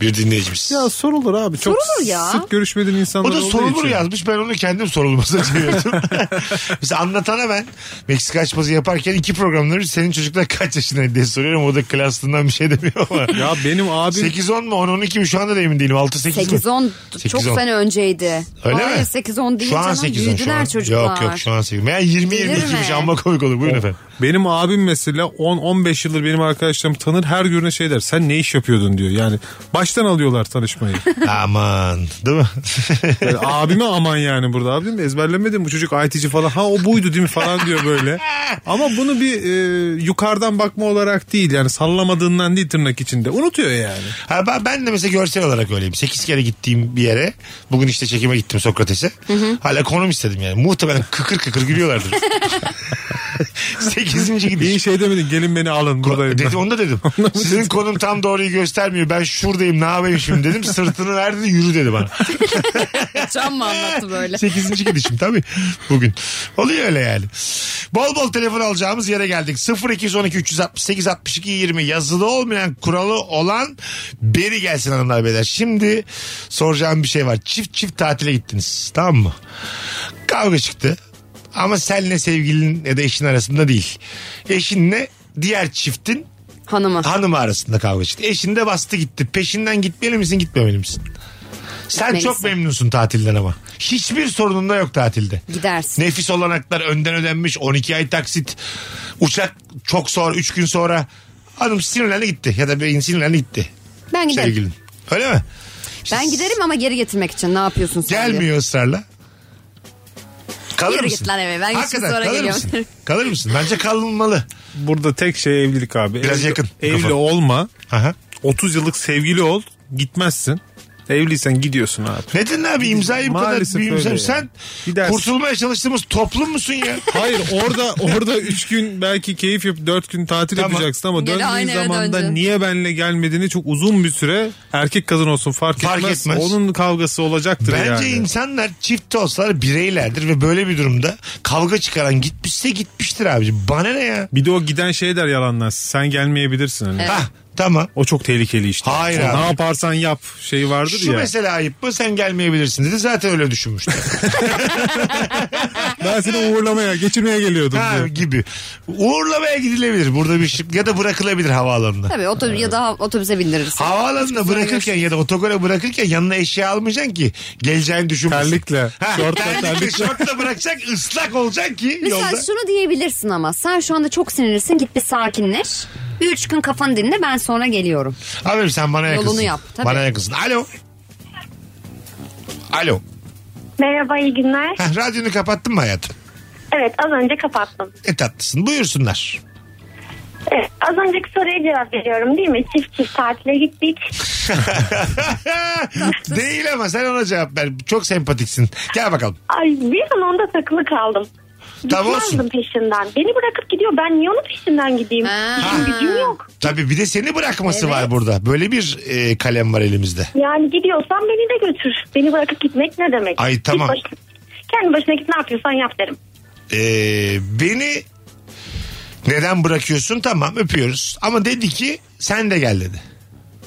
Speaker 3: Bir dinleyicimiz.
Speaker 5: Ya sorulur abi. Çok
Speaker 4: Sorulur ya.
Speaker 5: sık görüşmediğin insanlar
Speaker 3: o da
Speaker 5: olduğu
Speaker 3: sorulur
Speaker 5: için.
Speaker 3: yazmış. Ben onu kendim sorulmasına çevirdim. Mesela anlatana ben Meksika açması yaparken iki programda bir senin çocuklar kaç yaşında diye soruyorum. O da klaslığından bir şey demiyor ama.
Speaker 5: Ya benim abim
Speaker 3: 8-10 mu 10-12 mi şu anda da emin değilim. 6-8 mi?
Speaker 4: 8-10 çok
Speaker 3: 8-10.
Speaker 4: sene önceydi.
Speaker 3: Öyle
Speaker 4: Hayır,
Speaker 3: mi?
Speaker 4: 8-10 değil
Speaker 3: Şu an
Speaker 4: canım.
Speaker 3: 8 10 şu
Speaker 4: Büyüdüler
Speaker 3: an.
Speaker 4: çocuklar.
Speaker 3: Yok yok şu an 8. Yani 20
Speaker 4: Bilir
Speaker 3: 22 miş
Speaker 4: mi? Oh.
Speaker 3: amma komik olur. Buyurun efendim.
Speaker 5: Benim abim mesela 10-15 yıldır benim arkadaşlarım tanır her görüne şey der. Sen ne iş yapıyordun diyor. Yani baştan alıyorlar tanışmayı.
Speaker 3: Aman değil mi?
Speaker 5: Yani abime aman yani burada abim ezberlemedim bu çocuk IT'ci falan. Ha o buydu değil mi falan diyor böyle. Ama bunu bir e, yukarıdan bakma olarak değil yani sallamadığından değil tırnak içinde. Unutuyor yani.
Speaker 3: ha, ben, ben de mesela görsel olarak öyleyim. 8 kere gittiğim bir yere bugün işte çekime gittim Sokrates'e. Hala konum istedim yani. Muhtemelen kıkır kıkır gülüyorlardı. 8 Sekizinci
Speaker 5: İyi
Speaker 3: gidiş.
Speaker 5: şey demedin gelin beni alın buradayım.
Speaker 3: Dedi,
Speaker 5: ben.
Speaker 3: onu da dedim. Sizin konum tam doğruyu göstermiyor. Ben şuradayım ne yapayım şimdi dedim. Sırtını verdi yürü dedi bana.
Speaker 4: Can mı anlattı böyle?
Speaker 3: Sekizinci gidişim tabii bugün. Oluyor öyle yani. Bol bol telefon alacağımız yere geldik. 0212 368 62 20 yazılı olmayan kuralı olan beri gelsin hanımlar beyler. Şimdi soracağım bir şey var. Çift çift tatile gittiniz tamam mı? Kavga çıktı. Ama senle sevgilin ya da eşin arasında değil. Eşinle diğer çiftin
Speaker 4: Hanıma.
Speaker 3: hanımı arasında kavga çıktı. Eşin de bastı gitti. Peşinden gitmeli misin gitmemeli misin? Sen
Speaker 4: Gitmelisin.
Speaker 3: çok memnunsun tatilden ama. Hiçbir sorunun da yok tatilde.
Speaker 4: Gidersin.
Speaker 3: Nefis olanaklar önden ödenmiş. 12 ay taksit. Uçak çok sonra 3 gün sonra. Hanım sinirlendi gitti. Ya da beyin sinirlendi gitti.
Speaker 4: Ben giderim.
Speaker 3: Sevgilin. Öyle mi?
Speaker 4: Ben giderim ama geri getirmek için ne yapıyorsun sen? diye.
Speaker 3: Gelmiyor ısrarla. Kalır
Speaker 4: Yürü
Speaker 3: mısın?
Speaker 4: git lan eve. Ben
Speaker 3: Hakikaten
Speaker 4: gitsin sonra
Speaker 3: kalır
Speaker 4: geliyorum.
Speaker 3: mısın? Kalır mısın? Bence kalınmalı.
Speaker 5: Burada tek şey evlilik abi.
Speaker 3: Biraz
Speaker 5: Evli-
Speaker 3: yakın
Speaker 5: Evli
Speaker 3: kafa.
Speaker 5: olma.
Speaker 3: Aha.
Speaker 5: 30 yıllık sevgili ol. Gitmezsin. Evliysen gidiyorsun abi.
Speaker 3: Neden abi imzayı bu
Speaker 5: Maalesef
Speaker 3: kadar büyümsem
Speaker 5: öyle
Speaker 3: sen
Speaker 5: yani. Gidersin.
Speaker 3: kurtulmaya çalıştığımız toplum musun ya?
Speaker 5: Hayır orada orada 3 gün belki keyif yapıp 4 gün tatil
Speaker 3: Tamam.
Speaker 5: yapacaksın ama
Speaker 4: Geri aynı
Speaker 5: döndüğün
Speaker 4: eve
Speaker 5: zaman da
Speaker 4: döneceksin.
Speaker 5: niye benle gelmediğini çok uzun bir süre erkek kadın olsun fark,
Speaker 3: Fark
Speaker 5: etmez.
Speaker 3: etmez.
Speaker 5: Onun kavgası olacaktır yani.
Speaker 3: Bence insanlar çift olsalar bireylerdir ve böyle bir durumda kavga çıkaran gitmişse gitmiştir abicim. Bana ne ya?
Speaker 5: Bir de o giden şey der yalanlar. Sen gelmeyebilirsin. Hani.
Speaker 3: Hah tamam.
Speaker 5: O çok tehlikeli işte.
Speaker 3: Hayır
Speaker 5: O
Speaker 3: abi.
Speaker 5: Ne yaparsan yap şey vardır
Speaker 3: Şu
Speaker 5: ya.
Speaker 3: mesela ayıp mı sen gelmeyebilirsin dedi zaten öyle düşünmüştü.
Speaker 5: Ben seni uğurlamaya, geçirmeye geliyordum.
Speaker 3: ha,
Speaker 5: diyor.
Speaker 3: gibi. Uğurlamaya gidilebilir burada bir şey ya da bırakılabilir havaalanına.
Speaker 4: Tabii otobüs ya da otobüse bindirirsin.
Speaker 3: Havaalanına bırakırken ya da otogara bırakırken yanına eşya almayacaksın ki geleceğini düşünmesin.
Speaker 5: Terlikle,
Speaker 3: Ha,
Speaker 5: şortla,
Speaker 3: terlikle,
Speaker 5: terlikle.
Speaker 3: şortla bırakacak ıslak olacak ki
Speaker 4: Mesela
Speaker 3: yolda.
Speaker 4: şunu diyebilirsin ama sen şu anda çok sinirlisin git bir sakinleş. Bir üç gün kafanı dinle ben sonra geliyorum.
Speaker 3: Abim sen bana
Speaker 4: Yolunu
Speaker 3: yakınsın.
Speaker 4: yap, tabii.
Speaker 3: Bana yakınsın. Alo. Alo.
Speaker 8: Merhaba iyi günler.
Speaker 3: Heh, radyonu kapattın mı hayatım?
Speaker 8: Evet az önce kapattım.
Speaker 3: Ne tatlısın. Buyursunlar.
Speaker 8: Evet, az önceki soruya cevap veriyorum değil mi? Çift çift tatile gittik.
Speaker 3: Değil ama sen ona cevap ver. Çok sempatiksin. Gel bakalım.
Speaker 8: Ay bir an onda takılı kaldım.
Speaker 3: Tamam
Speaker 8: Gitmezdim
Speaker 3: olsun.
Speaker 8: peşinden. Beni bırakıp gidiyor. Ben niye onun peşinden gideyim?
Speaker 4: Ha.
Speaker 8: İşim gücüm yok.
Speaker 3: Tabii bir de seni bırakması var burada. Böyle bir e, kalem var elimizde.
Speaker 8: Yani gidiyorsan beni de götür. Beni bırakıp gitmek ne demek?
Speaker 3: Ay,
Speaker 8: Git
Speaker 3: tamam.
Speaker 8: başına- kendi başına git ne yapıyorsan yap derim.
Speaker 3: E, beni neden bırakıyorsun? Tamam öpüyoruz. Ama dedi ki sen de gel dedi.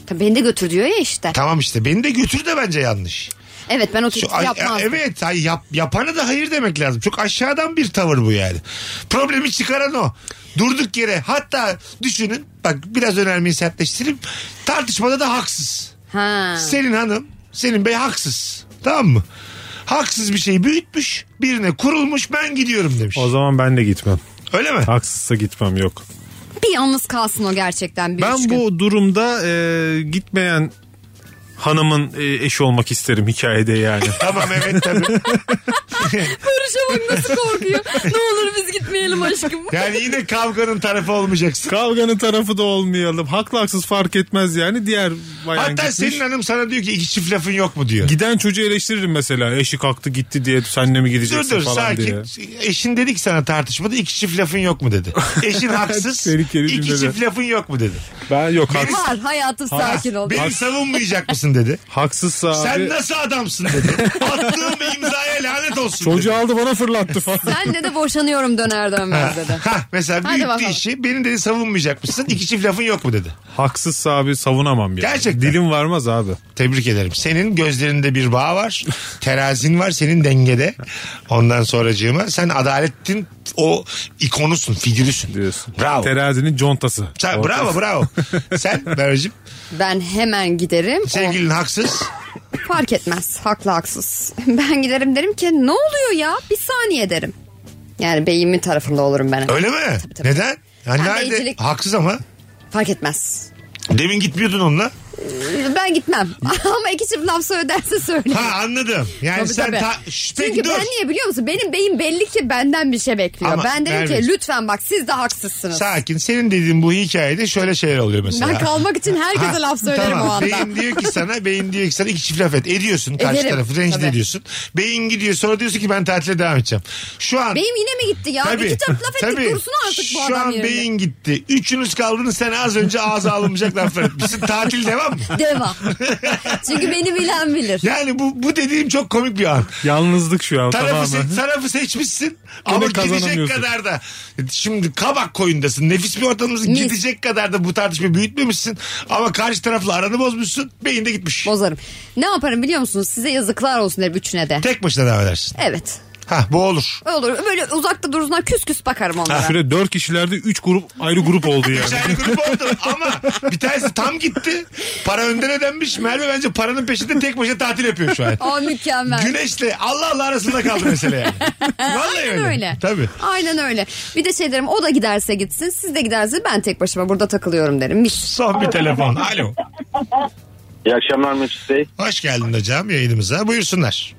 Speaker 4: Tabii beni de götür diyor ya işte.
Speaker 3: Tamam işte beni de götür de bence yanlış.
Speaker 4: Evet ben o tür
Speaker 3: Şu- ay- e,
Speaker 4: yapmazdım.
Speaker 3: evet ay, yap, yapana da hayır demek lazım. Çok aşağıdan bir tavır bu yani. Problemi çıkaran o. Durduk yere hatta düşünün bak biraz önermeyi sertleştirip tartışmada da haksız.
Speaker 4: Ha.
Speaker 3: Senin hanım, senin bey haksız. Tamam mı? Haksız bir şeyi büyütmüş, birine kurulmuş ben gidiyorum demiş.
Speaker 5: O zaman ben de gitmem.
Speaker 3: Öyle mi?
Speaker 5: Haksızsa gitmem yok.
Speaker 4: Bir yalnız kalsın o gerçekten bir üç
Speaker 5: Ben
Speaker 4: gün.
Speaker 5: bu durumda e, gitmeyen hanımın e, eşi olmak isterim hikayede yani.
Speaker 3: Tamam evet tabii.
Speaker 4: Barış'a bak nasıl korkuyor. ne olur biz gitmeyelim aşkım.
Speaker 3: Yani yine kavganın tarafı olmayacaksın.
Speaker 5: Kavganın tarafı da olmayalım. Haklı haksız fark etmez yani. Diğer bayan
Speaker 3: Hatta
Speaker 5: gitmiş.
Speaker 3: senin hanım sana diyor ki iki çift lafın yok mu diyor.
Speaker 5: Giden çocuğu eleştiririm mesela. Eşi kalktı gitti diye senle mi
Speaker 3: Dur
Speaker 5: gideceksin
Speaker 3: dur
Speaker 5: falan
Speaker 3: sakin.
Speaker 5: diye.
Speaker 3: Eşin dedi ki sana tartışmada iki çift lafın yok mu dedi. Eşin haksız.
Speaker 5: Tehlikeli
Speaker 3: iki
Speaker 5: cümle de.
Speaker 3: çift lafın yok mu dedi.
Speaker 5: Ben yok haks-
Speaker 4: Var hayatım sakin ol.
Speaker 3: Beni savunmayacak mısın dedi.
Speaker 5: haksızsa
Speaker 3: Sen
Speaker 5: abi.
Speaker 3: nasıl adamsın dedi. Attığım imzaya lanet olsun dedi.
Speaker 5: Çocuğu aldı bana fırlattı falan.
Speaker 4: Ben de de boşanıyorum döner dönmez dedi.
Speaker 3: Ha mesela
Speaker 4: Hadi
Speaker 3: büyüttü
Speaker 4: bakalım.
Speaker 3: işi. Beni dedi savunmayacak mısın? İki çift lafın yok mu dedi.
Speaker 5: Haksızsa abi savunamam yani.
Speaker 3: Gerçekten.
Speaker 5: Dilim varmaz abi.
Speaker 3: Tebrik ederim. Senin gözlerinde bir bağ var. Terazin var senin dengede. Ondan sonracığıma sen adaletin o ikonusun, figürüsün.
Speaker 5: Diyorsun.
Speaker 3: Bravo.
Speaker 5: Terazinin contası.
Speaker 3: Sen,
Speaker 5: Ortası.
Speaker 3: bravo bravo. Sen Merve'cim
Speaker 4: Ben hemen giderim. O
Speaker 3: sevgilin haksız.
Speaker 4: fark etmez. Haklı haksız. Ben giderim derim ki ne oluyor ya? Bir saniye derim. Yani beyimin tarafında olurum ben.
Speaker 3: Öyle mi?
Speaker 4: tabii.
Speaker 3: Neden? Yani
Speaker 4: Ben
Speaker 3: nerede?
Speaker 4: beycilik-
Speaker 3: Haksız ama.
Speaker 4: Fark etmez.
Speaker 3: Demin gitmiyordun onunla.
Speaker 4: Ee, Ben gitmem. Ama iki çift laf öderse söyle.
Speaker 3: Ha anladım. Yani
Speaker 4: Tabii,
Speaker 3: sen
Speaker 4: tabii.
Speaker 3: ta- Şş, peki
Speaker 4: Çünkü
Speaker 3: dur.
Speaker 4: ben niye biliyor musun? Benim beyin belli ki benden bir şey bekliyor.
Speaker 3: Ama
Speaker 4: ben dedim
Speaker 3: Merve-
Speaker 4: ki lütfen bak siz de haksızsınız.
Speaker 3: Sakin. Senin dediğin bu hikayede şöyle şeyler oluyor mesela.
Speaker 4: ben kalmak için herkese
Speaker 3: Ha,
Speaker 4: laf söylerim
Speaker 3: tamam.
Speaker 4: o anda.
Speaker 3: Beyin diyor ki sana, beyin diyor ki sana iki çift laf et. Ediyorsun karşı
Speaker 4: Ederim,
Speaker 3: tarafı rencide
Speaker 4: tabii.
Speaker 3: ediyorsun. Beyin gidiyor sonra diyorsun ki ben tatile devam edeceğim. Şu an
Speaker 4: Benim yine mi gitti ya?
Speaker 3: Tabii.
Speaker 4: İki çift laf ettik
Speaker 3: Tabii.
Speaker 4: dursun artık bu
Speaker 3: Şu
Speaker 4: adam
Speaker 3: an
Speaker 4: yerinde.
Speaker 3: beyin gitti. Üçünüz kaldınız sen az önce ağza alınmayacak laflar etmişsin. Tatil devam mı?
Speaker 4: Devam. Çünkü beni bilen bilir.
Speaker 3: Yani bu, bu dediğim çok komik bir an.
Speaker 5: Yalnızlık şu an
Speaker 3: Tarafı,
Speaker 5: tamamen.
Speaker 3: se- tarafı seçmişsin ama gidecek
Speaker 5: kazanamıyorsun.
Speaker 3: kadar da şimdi kabak koyundasın. Nefis bir ortamımızın
Speaker 4: Mis.
Speaker 3: gidecek kadar da bu tartışmayı büyütmemişsin. Ama karşı tarafla aranı bozmuşsun. Beyin de gitmiş.
Speaker 4: Bozarım. Ne yaparım biliyor musunuz? Size yazıklar olsun derim üçüne de.
Speaker 3: Tek başına devam edersin.
Speaker 4: Evet.
Speaker 3: Ha bu olur.
Speaker 4: Olur. Böyle uzakta durursunlar küs küs bakarım onlara.
Speaker 5: Şöyle dört kişilerde üç grup ayrı grup oldu
Speaker 3: Üç
Speaker 5: yani.
Speaker 3: ayrı grup oldu ama bir tanesi tam gitti. Para önden ödenmiş. Merve bence paranın peşinde tek başına tatil yapıyor şu an.
Speaker 4: Aa mükemmel.
Speaker 3: Güneşle Allah Allah arasında kaldı mesele yani. Vallahi
Speaker 4: Aynen
Speaker 3: öyle.
Speaker 4: öyle.
Speaker 3: Tabii.
Speaker 4: Aynen öyle. Bir de şey derim o da giderse gitsin siz de gidersiniz ben tek başıma burada takılıyorum derim. Mis.
Speaker 3: Son bir telefon. Alo.
Speaker 6: İyi akşamlar Mesut Bey.
Speaker 3: Hoş geldin hocam yayınımıza. Buyursunlar.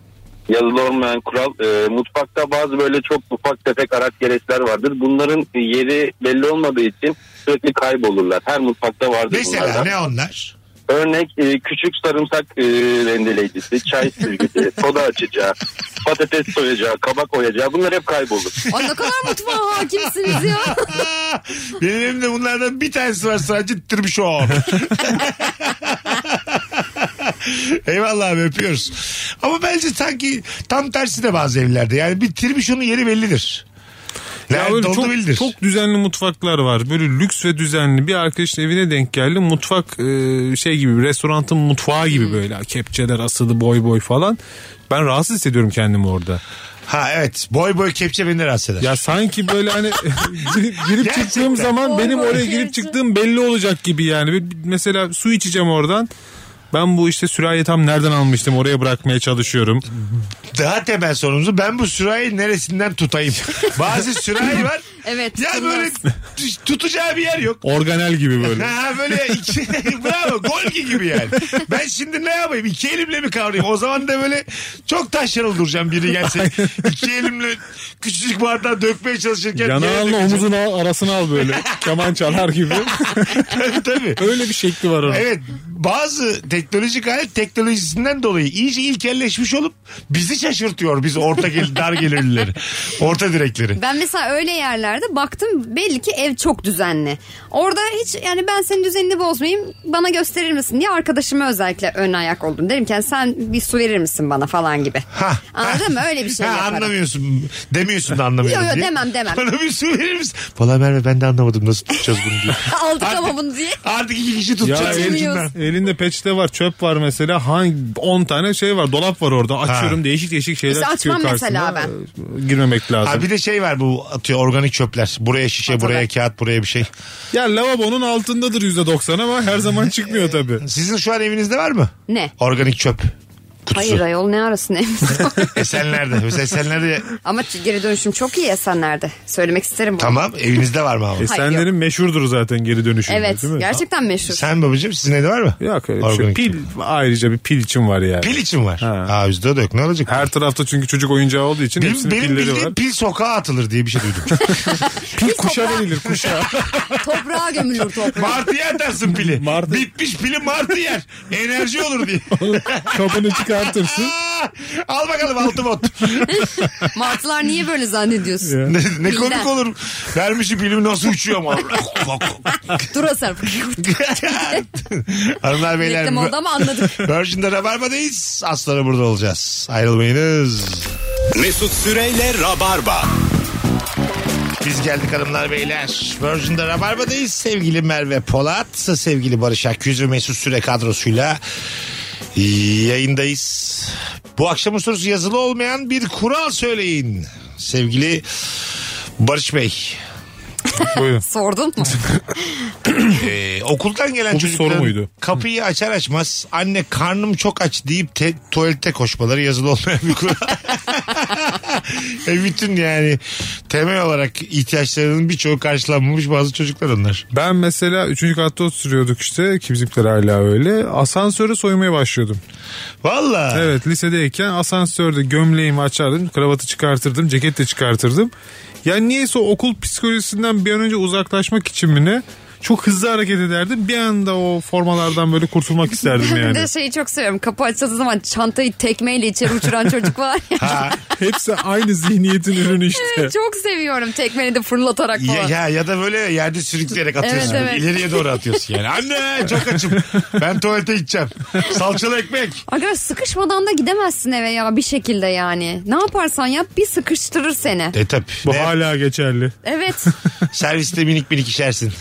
Speaker 6: Yazılı olmayan kural. e, mutfakta bazı böyle çok ufak tefek araç gereçler vardır. Bunların yeri belli olmadığı için sürekli kaybolurlar. Her mutfakta vardır
Speaker 3: Mesela
Speaker 6: bunlardan.
Speaker 3: ne onlar?
Speaker 6: Örnek e, küçük sarımsak e, rendeleyicisi, çay sürgüsü, soda açacağı, patates soyacağı, kabak oyacağı bunlar hep kaybolur.
Speaker 4: Ay ne kadar mutfağa hakimsiniz ya.
Speaker 3: Benim elimde bunlardan bir tanesi var sadece tırmışom. Eyvallah abi öpüyoruz. Ama bence sanki tam tersi de bazı evlerde. Yani bir tırmışonun yeri bellidir.
Speaker 5: Ya
Speaker 3: Yani
Speaker 5: böyle
Speaker 3: dolu
Speaker 5: çok,
Speaker 3: bildir.
Speaker 5: çok düzenli mutfaklar var. Böyle lüks ve düzenli. Bir arkadaşın evine denk geldi. Mutfak e, şey gibi restorantın mutfağı
Speaker 3: Hmm.
Speaker 5: gibi böyle. Kepçeler asılı boy boy falan. Ben rahatsız hissediyorum kendimi orada.
Speaker 3: Ha evet boy boy kepçe beni de rahatsız eder.
Speaker 5: Ya sanki böyle hani girip, girip
Speaker 3: Gerçekten.
Speaker 5: çıktığım zaman
Speaker 4: Oy,
Speaker 5: benim
Speaker 4: oy,
Speaker 5: oraya girip
Speaker 4: gerçekten.
Speaker 5: çıktığım belli olacak gibi yani. Bir- bir- Mesela su içeceğim oradan. Ben bu işte sürahi tam nereden almıştım oraya bırakmaya çalışıyorum.
Speaker 3: Daha temel sorumuzu ben bu sürahi neresinden tutayım? Bazı sürahi var.
Speaker 4: Evet,
Speaker 3: Ya
Speaker 4: tutulmaz.
Speaker 3: böyle t- tutacağı bir yer yok.
Speaker 5: Organel gibi böyle.
Speaker 3: Ha böyle iki, bravo golgi gibi yani. Ben şimdi ne yapayım? İki elimle mi kavrayayım? O zaman da böyle çok taşralı duracağım biri gelse. İki elimle küçücük bardağı dökmeye çalışırken. yere
Speaker 5: Yanağınla
Speaker 3: dökeceğim.
Speaker 5: omuzun al- arasını al böyle. Keman çalar gibi.
Speaker 3: Tabii, Tabii.
Speaker 5: Öyle bir şekli var onun.
Speaker 3: Evet bazı teknolojik alet teknolojisinden dolayı iyice ilkelleşmiş olup bizi şaşırtıyor biz orta gel dar gelirlileri. Orta direkleri.
Speaker 4: Ben mesela öyle yerlerde baktım belli ki ev çok düzenli. Orada hiç yani ben senin düzenini bozmayayım bana gösterir misin diye arkadaşıma özellikle ön ayak oldum. Derim ki yani sen bir su verir misin bana falan gibi.
Speaker 3: Ha.
Speaker 4: Anladın mı? Öyle bir şey
Speaker 3: ha,
Speaker 4: yaparım.
Speaker 3: Anlamıyorsun. Demiyorsun da anlamıyorum.
Speaker 4: Yo, yo,
Speaker 3: diye.
Speaker 4: demem, demem.
Speaker 3: Bana bir su verir misin? Valla Merve ben de anlamadım nasıl tutacağız bunu diye.
Speaker 4: Aldık
Speaker 3: Artık-
Speaker 4: ama bunu diye.
Speaker 3: Artık iki kişi tutacağız.
Speaker 5: Ya,
Speaker 3: elinden.
Speaker 4: Bilmiyoruz.
Speaker 5: Elinde peçete var, çöp var mesela. Hangi 10 tane şey var, dolap var orada. Açıyorum değişik değişik şeyler
Speaker 4: İşte
Speaker 5: çıkıyor
Speaker 4: açmam
Speaker 5: karşıma.
Speaker 4: mesela
Speaker 5: Ee, Girmemek lazım.
Speaker 3: Ha bir de şey var bu atıyor organik çöpler. Buraya şişe,
Speaker 4: Atalar.
Speaker 3: buraya kağıt, buraya bir şey.
Speaker 5: Ya lavabonun altındadır %90 ama her zaman çıkmıyor tabii.
Speaker 3: Sizin şu an evinizde var mı?
Speaker 4: Ne?
Speaker 3: Organik çöp kutusu.
Speaker 4: Hayır ayol ne arasın
Speaker 3: Esenler'de. Mesela Esenler'de
Speaker 4: Ama geri dönüşüm çok iyi Esenler'de. Söylemek isterim bunu.
Speaker 3: tamam evinizde var mı ama?
Speaker 5: Esenlerin meşhurdur zaten geri dönüşümü.
Speaker 4: Evet
Speaker 5: değil mi?
Speaker 4: gerçekten meşhur.
Speaker 3: Sen babacığım sizin evde var mı?
Speaker 5: Yok öyle bir şey.
Speaker 3: Organik
Speaker 5: Pil ayrıca bir pil için var yani.
Speaker 3: Pil için var. Aa yüzde dök ne olacak?
Speaker 5: Her tarafta çünkü çocuk oyuncağı olduğu için
Speaker 3: benim,
Speaker 5: hepsinin
Speaker 3: benim
Speaker 5: pilleri
Speaker 3: bildiğim
Speaker 5: var.
Speaker 3: pil sokağa atılır diye bir şey duydum.
Speaker 5: Pil kuşa verilir kuşa.
Speaker 4: Toprağa gömülür toprağa.
Speaker 3: martıya atarsın pili.
Speaker 5: Martı.
Speaker 3: Bitmiş pili martı yer. Enerji olur diye.
Speaker 5: Kabını çıkartırsın.
Speaker 3: Aa, Al bakalım altı bot.
Speaker 4: Martılar niye böyle zannediyorsun?
Speaker 5: Ya.
Speaker 3: ne, ne komik
Speaker 4: Bilden.
Speaker 3: olur. Vermişim pilimi nasıl uçuyor ama.
Speaker 4: Dur Asar.
Speaker 3: Hanımlar beyler.
Speaker 4: Reklam oldu ama anladık.
Speaker 3: Virgin'de Rabarba'dayız. Az sonra burada olacağız. Ayrılmayınız.
Speaker 2: Mesut Süreyle Rabarba.
Speaker 3: Biz geldik hanımlar beyler. Virgin'de Rabarba'dayız. Sevgili Merve Polat, sevgili Barış Akyüz ve Mesut Süre kadrosuyla yayındayız. Bu akşamın sorusu yazılı olmayan bir kural söyleyin. Sevgili Barış Bey,
Speaker 5: Buyurun.
Speaker 4: Sordun mu?
Speaker 3: Ee, okuldan gelen
Speaker 5: Bu bir
Speaker 3: çocukların
Speaker 5: soru muydu?
Speaker 3: kapıyı açar açmaz anne karnım çok aç deyip te- tuvalete koşmaları yazılı olmayan bir kural. e bütün yani temel olarak ihtiyaçlarının birçoğu karşılanmamış bazı çocuklar onlar.
Speaker 5: Ben mesela 3. katta oturuyorduk işte ki bizimkiler hala öyle. Asansöre soymaya başlıyordum.
Speaker 3: Valla.
Speaker 5: Evet lisedeyken asansörde gömleğimi açardım, kravatı çıkartırdım, ceket de çıkartırdım. Yani niyeyse o okul psikolojisinden bir an önce uzaklaşmak için mi ne? Çok hızlı hareket ederdim. Bir anda o formalardan böyle kurtulmak isterdim
Speaker 4: Bir
Speaker 5: yani.
Speaker 4: de şeyi çok seviyorum. Kapı açıldığı zaman çantayı tekmeyle içeri uçuran çocuk var ya.
Speaker 5: Hepsi aynı zihniyetin ürünü işte.
Speaker 4: çok seviyorum tekmeyi de fırlatarak
Speaker 3: Ya,
Speaker 4: falan.
Speaker 3: ya, ya da böyle yerde sürükleyerek atıyorsun.
Speaker 4: Evet, evet.
Speaker 3: İleriye doğru atıyorsun yani. Anne çok açım. Ben tuvalete gideceğim. Salçalı ekmek.
Speaker 4: Arkadaş sıkışmadan da gidemezsin eve ya bir şekilde yani. Ne yaparsan yap bir sıkıştırır seni.
Speaker 3: E tabi.
Speaker 5: Bu hala geçerli.
Speaker 4: Evet.
Speaker 3: Serviste minik minik işersin.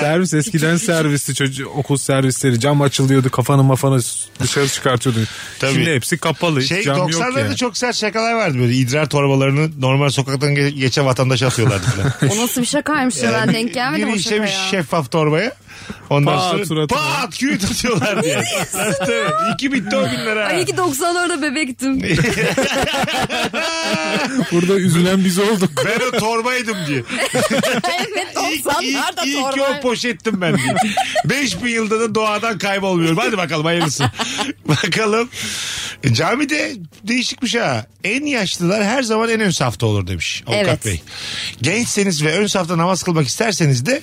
Speaker 5: Servis eskiden servisti çocuk okul servisleri cam açılıyordu kafanı mafanı dışarı çıkartıyordu.
Speaker 3: Tabii.
Speaker 5: Şimdi hepsi kapalı.
Speaker 3: Şey
Speaker 5: Hiç cam yok
Speaker 3: 90'larda
Speaker 5: yani.
Speaker 3: çok sert şakalar vardı böyle idrar torbalarını normal sokaktan ge- geçen vatandaşa atıyorlardı falan.
Speaker 4: o nasıl bir şakaymış ya ben denk gelmedim
Speaker 3: Biri
Speaker 4: o şakaya.
Speaker 3: işlemiş şeffaf torbaya. Ondan
Speaker 5: Pat
Speaker 3: sonra
Speaker 5: suratına.
Speaker 3: pat küt atıyorlardı yani. Tabii. İki bitti o günler ha.
Speaker 4: Ay iyi ki 90'larda bebektim.
Speaker 5: Burada üzülen biz olduk.
Speaker 3: Ben o torbaydım diye.
Speaker 4: evet
Speaker 3: İyi, iyi, iyi
Speaker 4: 90'larda
Speaker 3: ki o
Speaker 4: torba.
Speaker 3: poşettim ben diye. 5000 yılda da doğadan kaybolmuyorum. Hadi bakalım hayırlısı. bakalım. E, Camide değişikmiş ha. En yaşlılar her zaman en ön safta olur demiş avukat
Speaker 4: Evet.
Speaker 3: bey. Gençseniz ve ön safta namaz kılmak isterseniz de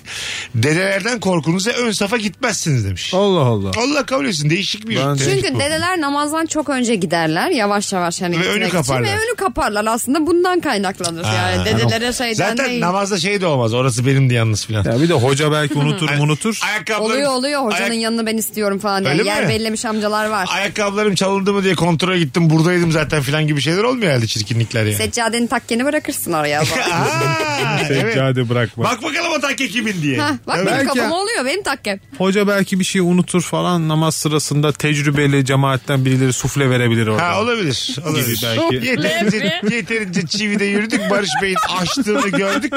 Speaker 3: dedelerden korkunuza ön safa gitmezsiniz demiş.
Speaker 5: Allah Allah.
Speaker 3: Allah kabul etsin değişik bir
Speaker 5: Ben-
Speaker 3: teşvik
Speaker 4: Çünkü
Speaker 3: bu.
Speaker 4: dedeler namazdan çok önce giderler yavaş yavaş hani
Speaker 3: Ve
Speaker 4: gitmek
Speaker 3: önü
Speaker 4: için.
Speaker 3: kaparlar.
Speaker 4: Ve önü kaparlar aslında bundan kaynaklanır yani dedelere şeyden
Speaker 3: Zaten
Speaker 4: değil.
Speaker 3: namazda şey de olmaz orası benim de yalnız filan.
Speaker 5: Ya bir de hoca belki unutur unutur.
Speaker 3: Ayakkabılarım-
Speaker 4: Oluyor oluyor hocanın
Speaker 3: Ayak-
Speaker 4: yanını ben istiyorum falan diye.
Speaker 3: Öyle mi?
Speaker 4: Yer bellemiş amcalar var.
Speaker 3: Ayakkabılarım çalındı mı diye kontrole gittim buradaydım zaten filan gibi şeyler olmuyor herhalde çirkinlikler yani.
Speaker 4: Seccadeni takkeni bırakırsın oraya. o zaman.
Speaker 3: Aa, evet.
Speaker 5: Seccade bırakma.
Speaker 3: Bak bakalım o takke kimin diye.
Speaker 4: Hah, Bak
Speaker 3: Evet.
Speaker 4: benim
Speaker 5: Belki-
Speaker 4: kafam oluyor benim takkem.
Speaker 5: Hoca belki bir şey unutur falan namaz sırasında tecrübeli cemaatten birileri sufle verebilir orada.
Speaker 3: Ha olabilir. olabilir.
Speaker 5: belki.
Speaker 3: Yeterince, yeterince çivide yürüdük. Barış Bey'in açtığını gördük.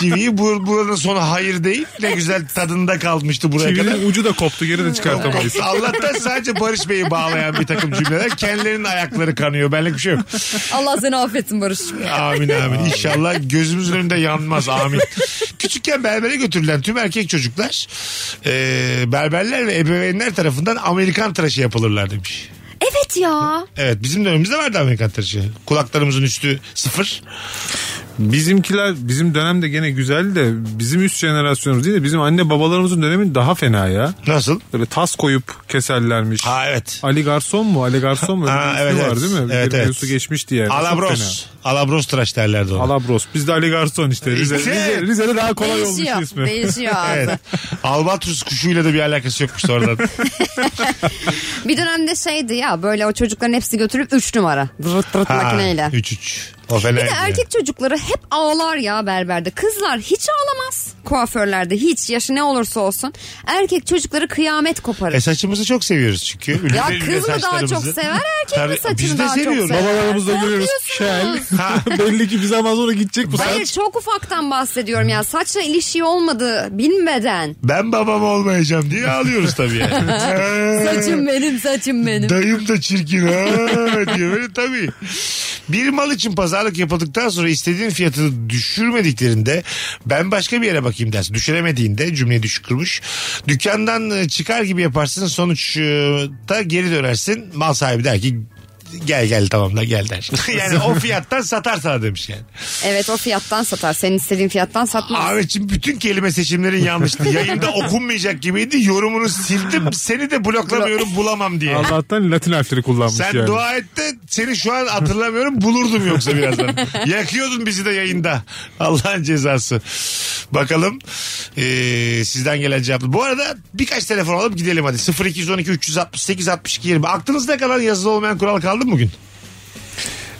Speaker 3: Çiviyi bu, buranın sonu hayır değil. Ne güzel tadında kalmıştı buraya kadar.
Speaker 5: Çivinin ucu da koptu geri de çıkartamayız.
Speaker 3: Allah'tan sadece Barış Bey'i bağlayan bir takım cümleler. Kendilerinin ayakları kanıyor. Benlik bir şey yok.
Speaker 4: Allah seni affetsin Barış.
Speaker 3: Amin amin. İnşallah gözümüzün önünde yanmaz. Amin. Küçükken berbere götürülen tüm erkek çocuklar e, berberler ve ebeveynler tarafından Amerikan tıraşı yapılırlar demiş.
Speaker 4: Evet ya.
Speaker 3: Evet bizim dönemimizde vardı Amerikan tıraşı. Kulaklarımızın üstü sıfır.
Speaker 5: Bizimkiler bizim dönemde gene güzel de bizim üst jenerasyonumuz değil de bizim anne babalarımızın dönemi daha fena ya.
Speaker 3: Nasıl?
Speaker 5: Böyle tas koyup keserlermiş.
Speaker 3: Ha evet.
Speaker 5: Ali Garson mu? Ali Garson mu? Öyle
Speaker 3: Ha,
Speaker 5: bir ismi
Speaker 3: evet,
Speaker 5: var
Speaker 3: evet.
Speaker 5: değil mi? Bir
Speaker 3: Evet,
Speaker 5: kere
Speaker 3: evet.
Speaker 5: Yusuf geçmişti yani. Çok
Speaker 3: Alabros.
Speaker 5: fena.
Speaker 3: Alabros tıraş derlerdi ona.
Speaker 5: Alabros. Bizde Ali Garson işte. Rize,
Speaker 3: İşte.
Speaker 5: Rize, Rize'de daha kolay
Speaker 4: Değişiyor.
Speaker 5: olmuş ismi.
Speaker 4: Değişiyor ağzı.
Speaker 3: Evet. Albatros kuşuyla da bir alakası yokmuş sonradan.
Speaker 4: Bir dönemde şeydi ya böyle o çocukların hepsi götürüp 3 numara. Vırt vırt
Speaker 3: Ha,
Speaker 4: makineyle.
Speaker 3: 3-3. O fena.
Speaker 4: Bir de erkek çocukları hep ağlar ya berberde. Kızlar hiç ağlamaz kuaförlerde hiç yaşı ne olursa olsun. Erkek çocukları kıyamet koparır.
Speaker 3: E saçımızı çok seviyoruz çünkü.
Speaker 4: ya
Speaker 3: Ünlü ünlü
Speaker 4: kız mı daha çok
Speaker 3: E, saçlarımızı.
Speaker 4: sever erkek
Speaker 3: Tabii,
Speaker 4: mi
Speaker 3: biz de
Speaker 4: saçını daha çok
Speaker 3: seviyoruz.
Speaker 4: sever?
Speaker 5: Babalarımızda görüyoruz. Şel.
Speaker 4: Korkuyorsunuz.
Speaker 5: Belli ki bize ama sonra gidecek bu
Speaker 4: Hayır
Speaker 5: saç.
Speaker 4: çok ufaktan bahsediyorum ya. Saçla ilişiği olmadı bilmeden.
Speaker 3: Ben babam olmayacağım diye ağlıyoruz tabii yani. Ee,
Speaker 4: Saçım benim saçım benim.
Speaker 3: Dayım da çirkin ha diyor böyle tabii. Bir mal için pazarlık yapıldıktan sonra istediğin fiyatı düşürmediklerinde ben başka bir yere bakayım dersin. Düşüremediğinde cümleyi düşük kırmış. Dükkandan e, çıkar gibi yaparsın sonuçta geri dönersin. Mal sahibi der ki gel gel tamam da gel der. yani o fiyattan satar sana demiş yani.
Speaker 4: Evet o fiyattan satar. Senin istediğin fiyattan satmaz.
Speaker 3: Ahmetciğim bütün kelime seçimlerin yanlıştı. Yayında okunmayacak gibiydi. Yorumunu sildim. Seni de bloklamıyorum bulamam diye.
Speaker 5: Allah'tan Latin harfleri kullanmış
Speaker 3: Sen
Speaker 5: yani.
Speaker 3: dua et de seni şu an hatırlamıyorum bulurdum yoksa birazdan. Yakıyordun bizi de yayında. Allah'ın cezası. Bakalım ee, sizden gelen cevap. Bu arada birkaç telefon alıp gidelim hadi. 0212 368 62 20. Aklınızda kalan yazılı olmayan kural kaldı mı bugün?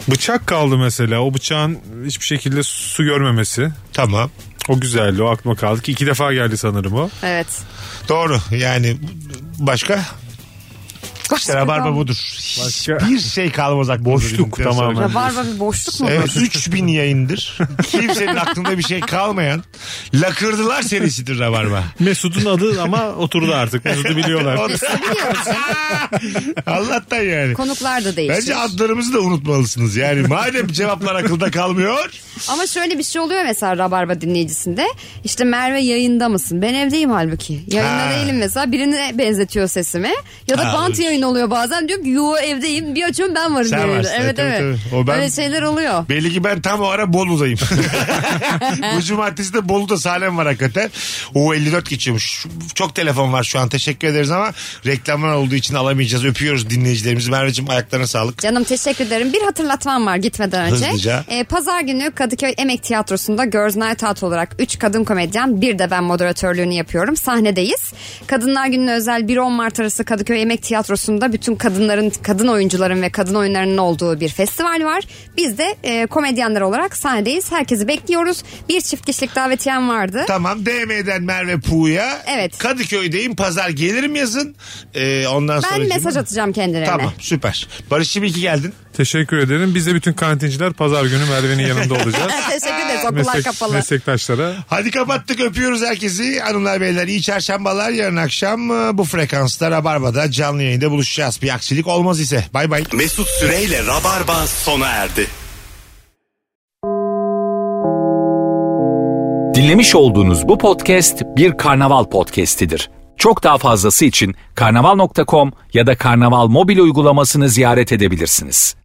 Speaker 5: Bıçak kaldı mesela. O bıçağın hiçbir şekilde su görmemesi.
Speaker 3: Tamam.
Speaker 5: O güzeldi. O aklıma kaldı ki iki defa geldi sanırım o.
Speaker 4: Evet.
Speaker 3: Doğru yani başka? İşte rabarba budur. Hiçbir şey kalmaz aklımda.
Speaker 5: Boşluk
Speaker 3: dedikten sonra.
Speaker 5: tamamen.
Speaker 4: Rabarba bir boşluk mu?
Speaker 3: Evet 3000 yayındır. Kimsenin aklında bir şey kalmayan lakırdılar serisidir Rabarba.
Speaker 5: Mesut'un adı ama oturdu artık. Mesut'u biliyorlar.
Speaker 3: O da- Allah'tan yani.
Speaker 4: Konuklar da değişir.
Speaker 3: Bence adlarımızı da unutmalısınız. Yani madem cevaplar akılda kalmıyor.
Speaker 4: Ama şöyle bir şey oluyor mesela Rabarba dinleyicisinde. İşte Merve yayında mısın? Ben evdeyim halbuki. Yayında
Speaker 3: Ha.
Speaker 4: değilim mesela. Birine benzetiyor sesimi. Ya da
Speaker 3: Ha,
Speaker 4: bant
Speaker 3: evet.
Speaker 4: yayın oluyor bazen. Diyorum ki yo evdeyim. Bir açıyorum ben varım.
Speaker 3: Sen
Speaker 4: diyor.
Speaker 3: varsın.
Speaker 4: Evet
Speaker 3: Tabii,
Speaker 4: evet.
Speaker 3: tabii. O ben-
Speaker 4: Öyle şeyler oluyor.
Speaker 3: Belli ki ben tam o ara Bolu'dayım. Bu cumartesi de Bolu'da sahnem var hakikaten. O 54 geçiyormuş. Çok telefon var şu an teşekkür ederiz ama reklamlar olduğu için alamayacağız. Öpüyoruz dinleyicilerimizi. Merveciğim ayaklarına sağlık.
Speaker 4: Canım teşekkür ederim. Bir hatırlatmam var gitmeden önce.
Speaker 3: Hızlıca.
Speaker 4: Ee, Pazar günü Kadıköy Emek Tiyatrosu'nda Girls Night Out olarak 3 kadın komedyen bir de ben moderatörlüğünü yapıyorum. Sahnedeyiz. Kadınlar Günü'ne özel 1-10 Mart arası Kadıköy Emek Tiyatrosu'nda bütün kadınların, kadın oyuncuların ve kadın oyunlarının olduğu bir festival var. Biz de e, komedyenler olarak sahnedeyiz. Herkesi bekliyoruz. Bir çift kişilik davetiyem vardı.
Speaker 3: Tamam DM'den Merve Puğ'ya.
Speaker 4: Evet.
Speaker 3: Kadıköy'deyim pazar gelirim yazın. Ee, ondan sonra.
Speaker 4: ben mesaj atacağım kendilerine.
Speaker 3: Tamam süper. Barış'cığım iyi ki geldin.
Speaker 5: Teşekkür ederim. Biz de bütün kantinciler pazar günü Merve'nin yanında olacağız.
Speaker 4: Teşekkür ederiz. Okullar
Speaker 5: Meslek-
Speaker 4: kapalı.
Speaker 5: meslektaşlara.
Speaker 3: Hadi kapattık öpüyoruz herkesi. Hanımlar beyler iyi çarşambalar. Yarın akşam e, bu frekansta Rabarba'da canlı yayında buluşacağız. Bir aksilik olmaz ise. Bay bay.
Speaker 2: Mesut Süreyle Rabarba sona erdi.
Speaker 1: Dinlemiş olduğunuz bu podcast bir karnaval podcastidir. Çok daha fazlası için karnaval.com ya da karnaval mobil uygulamasını ziyaret edebilirsiniz.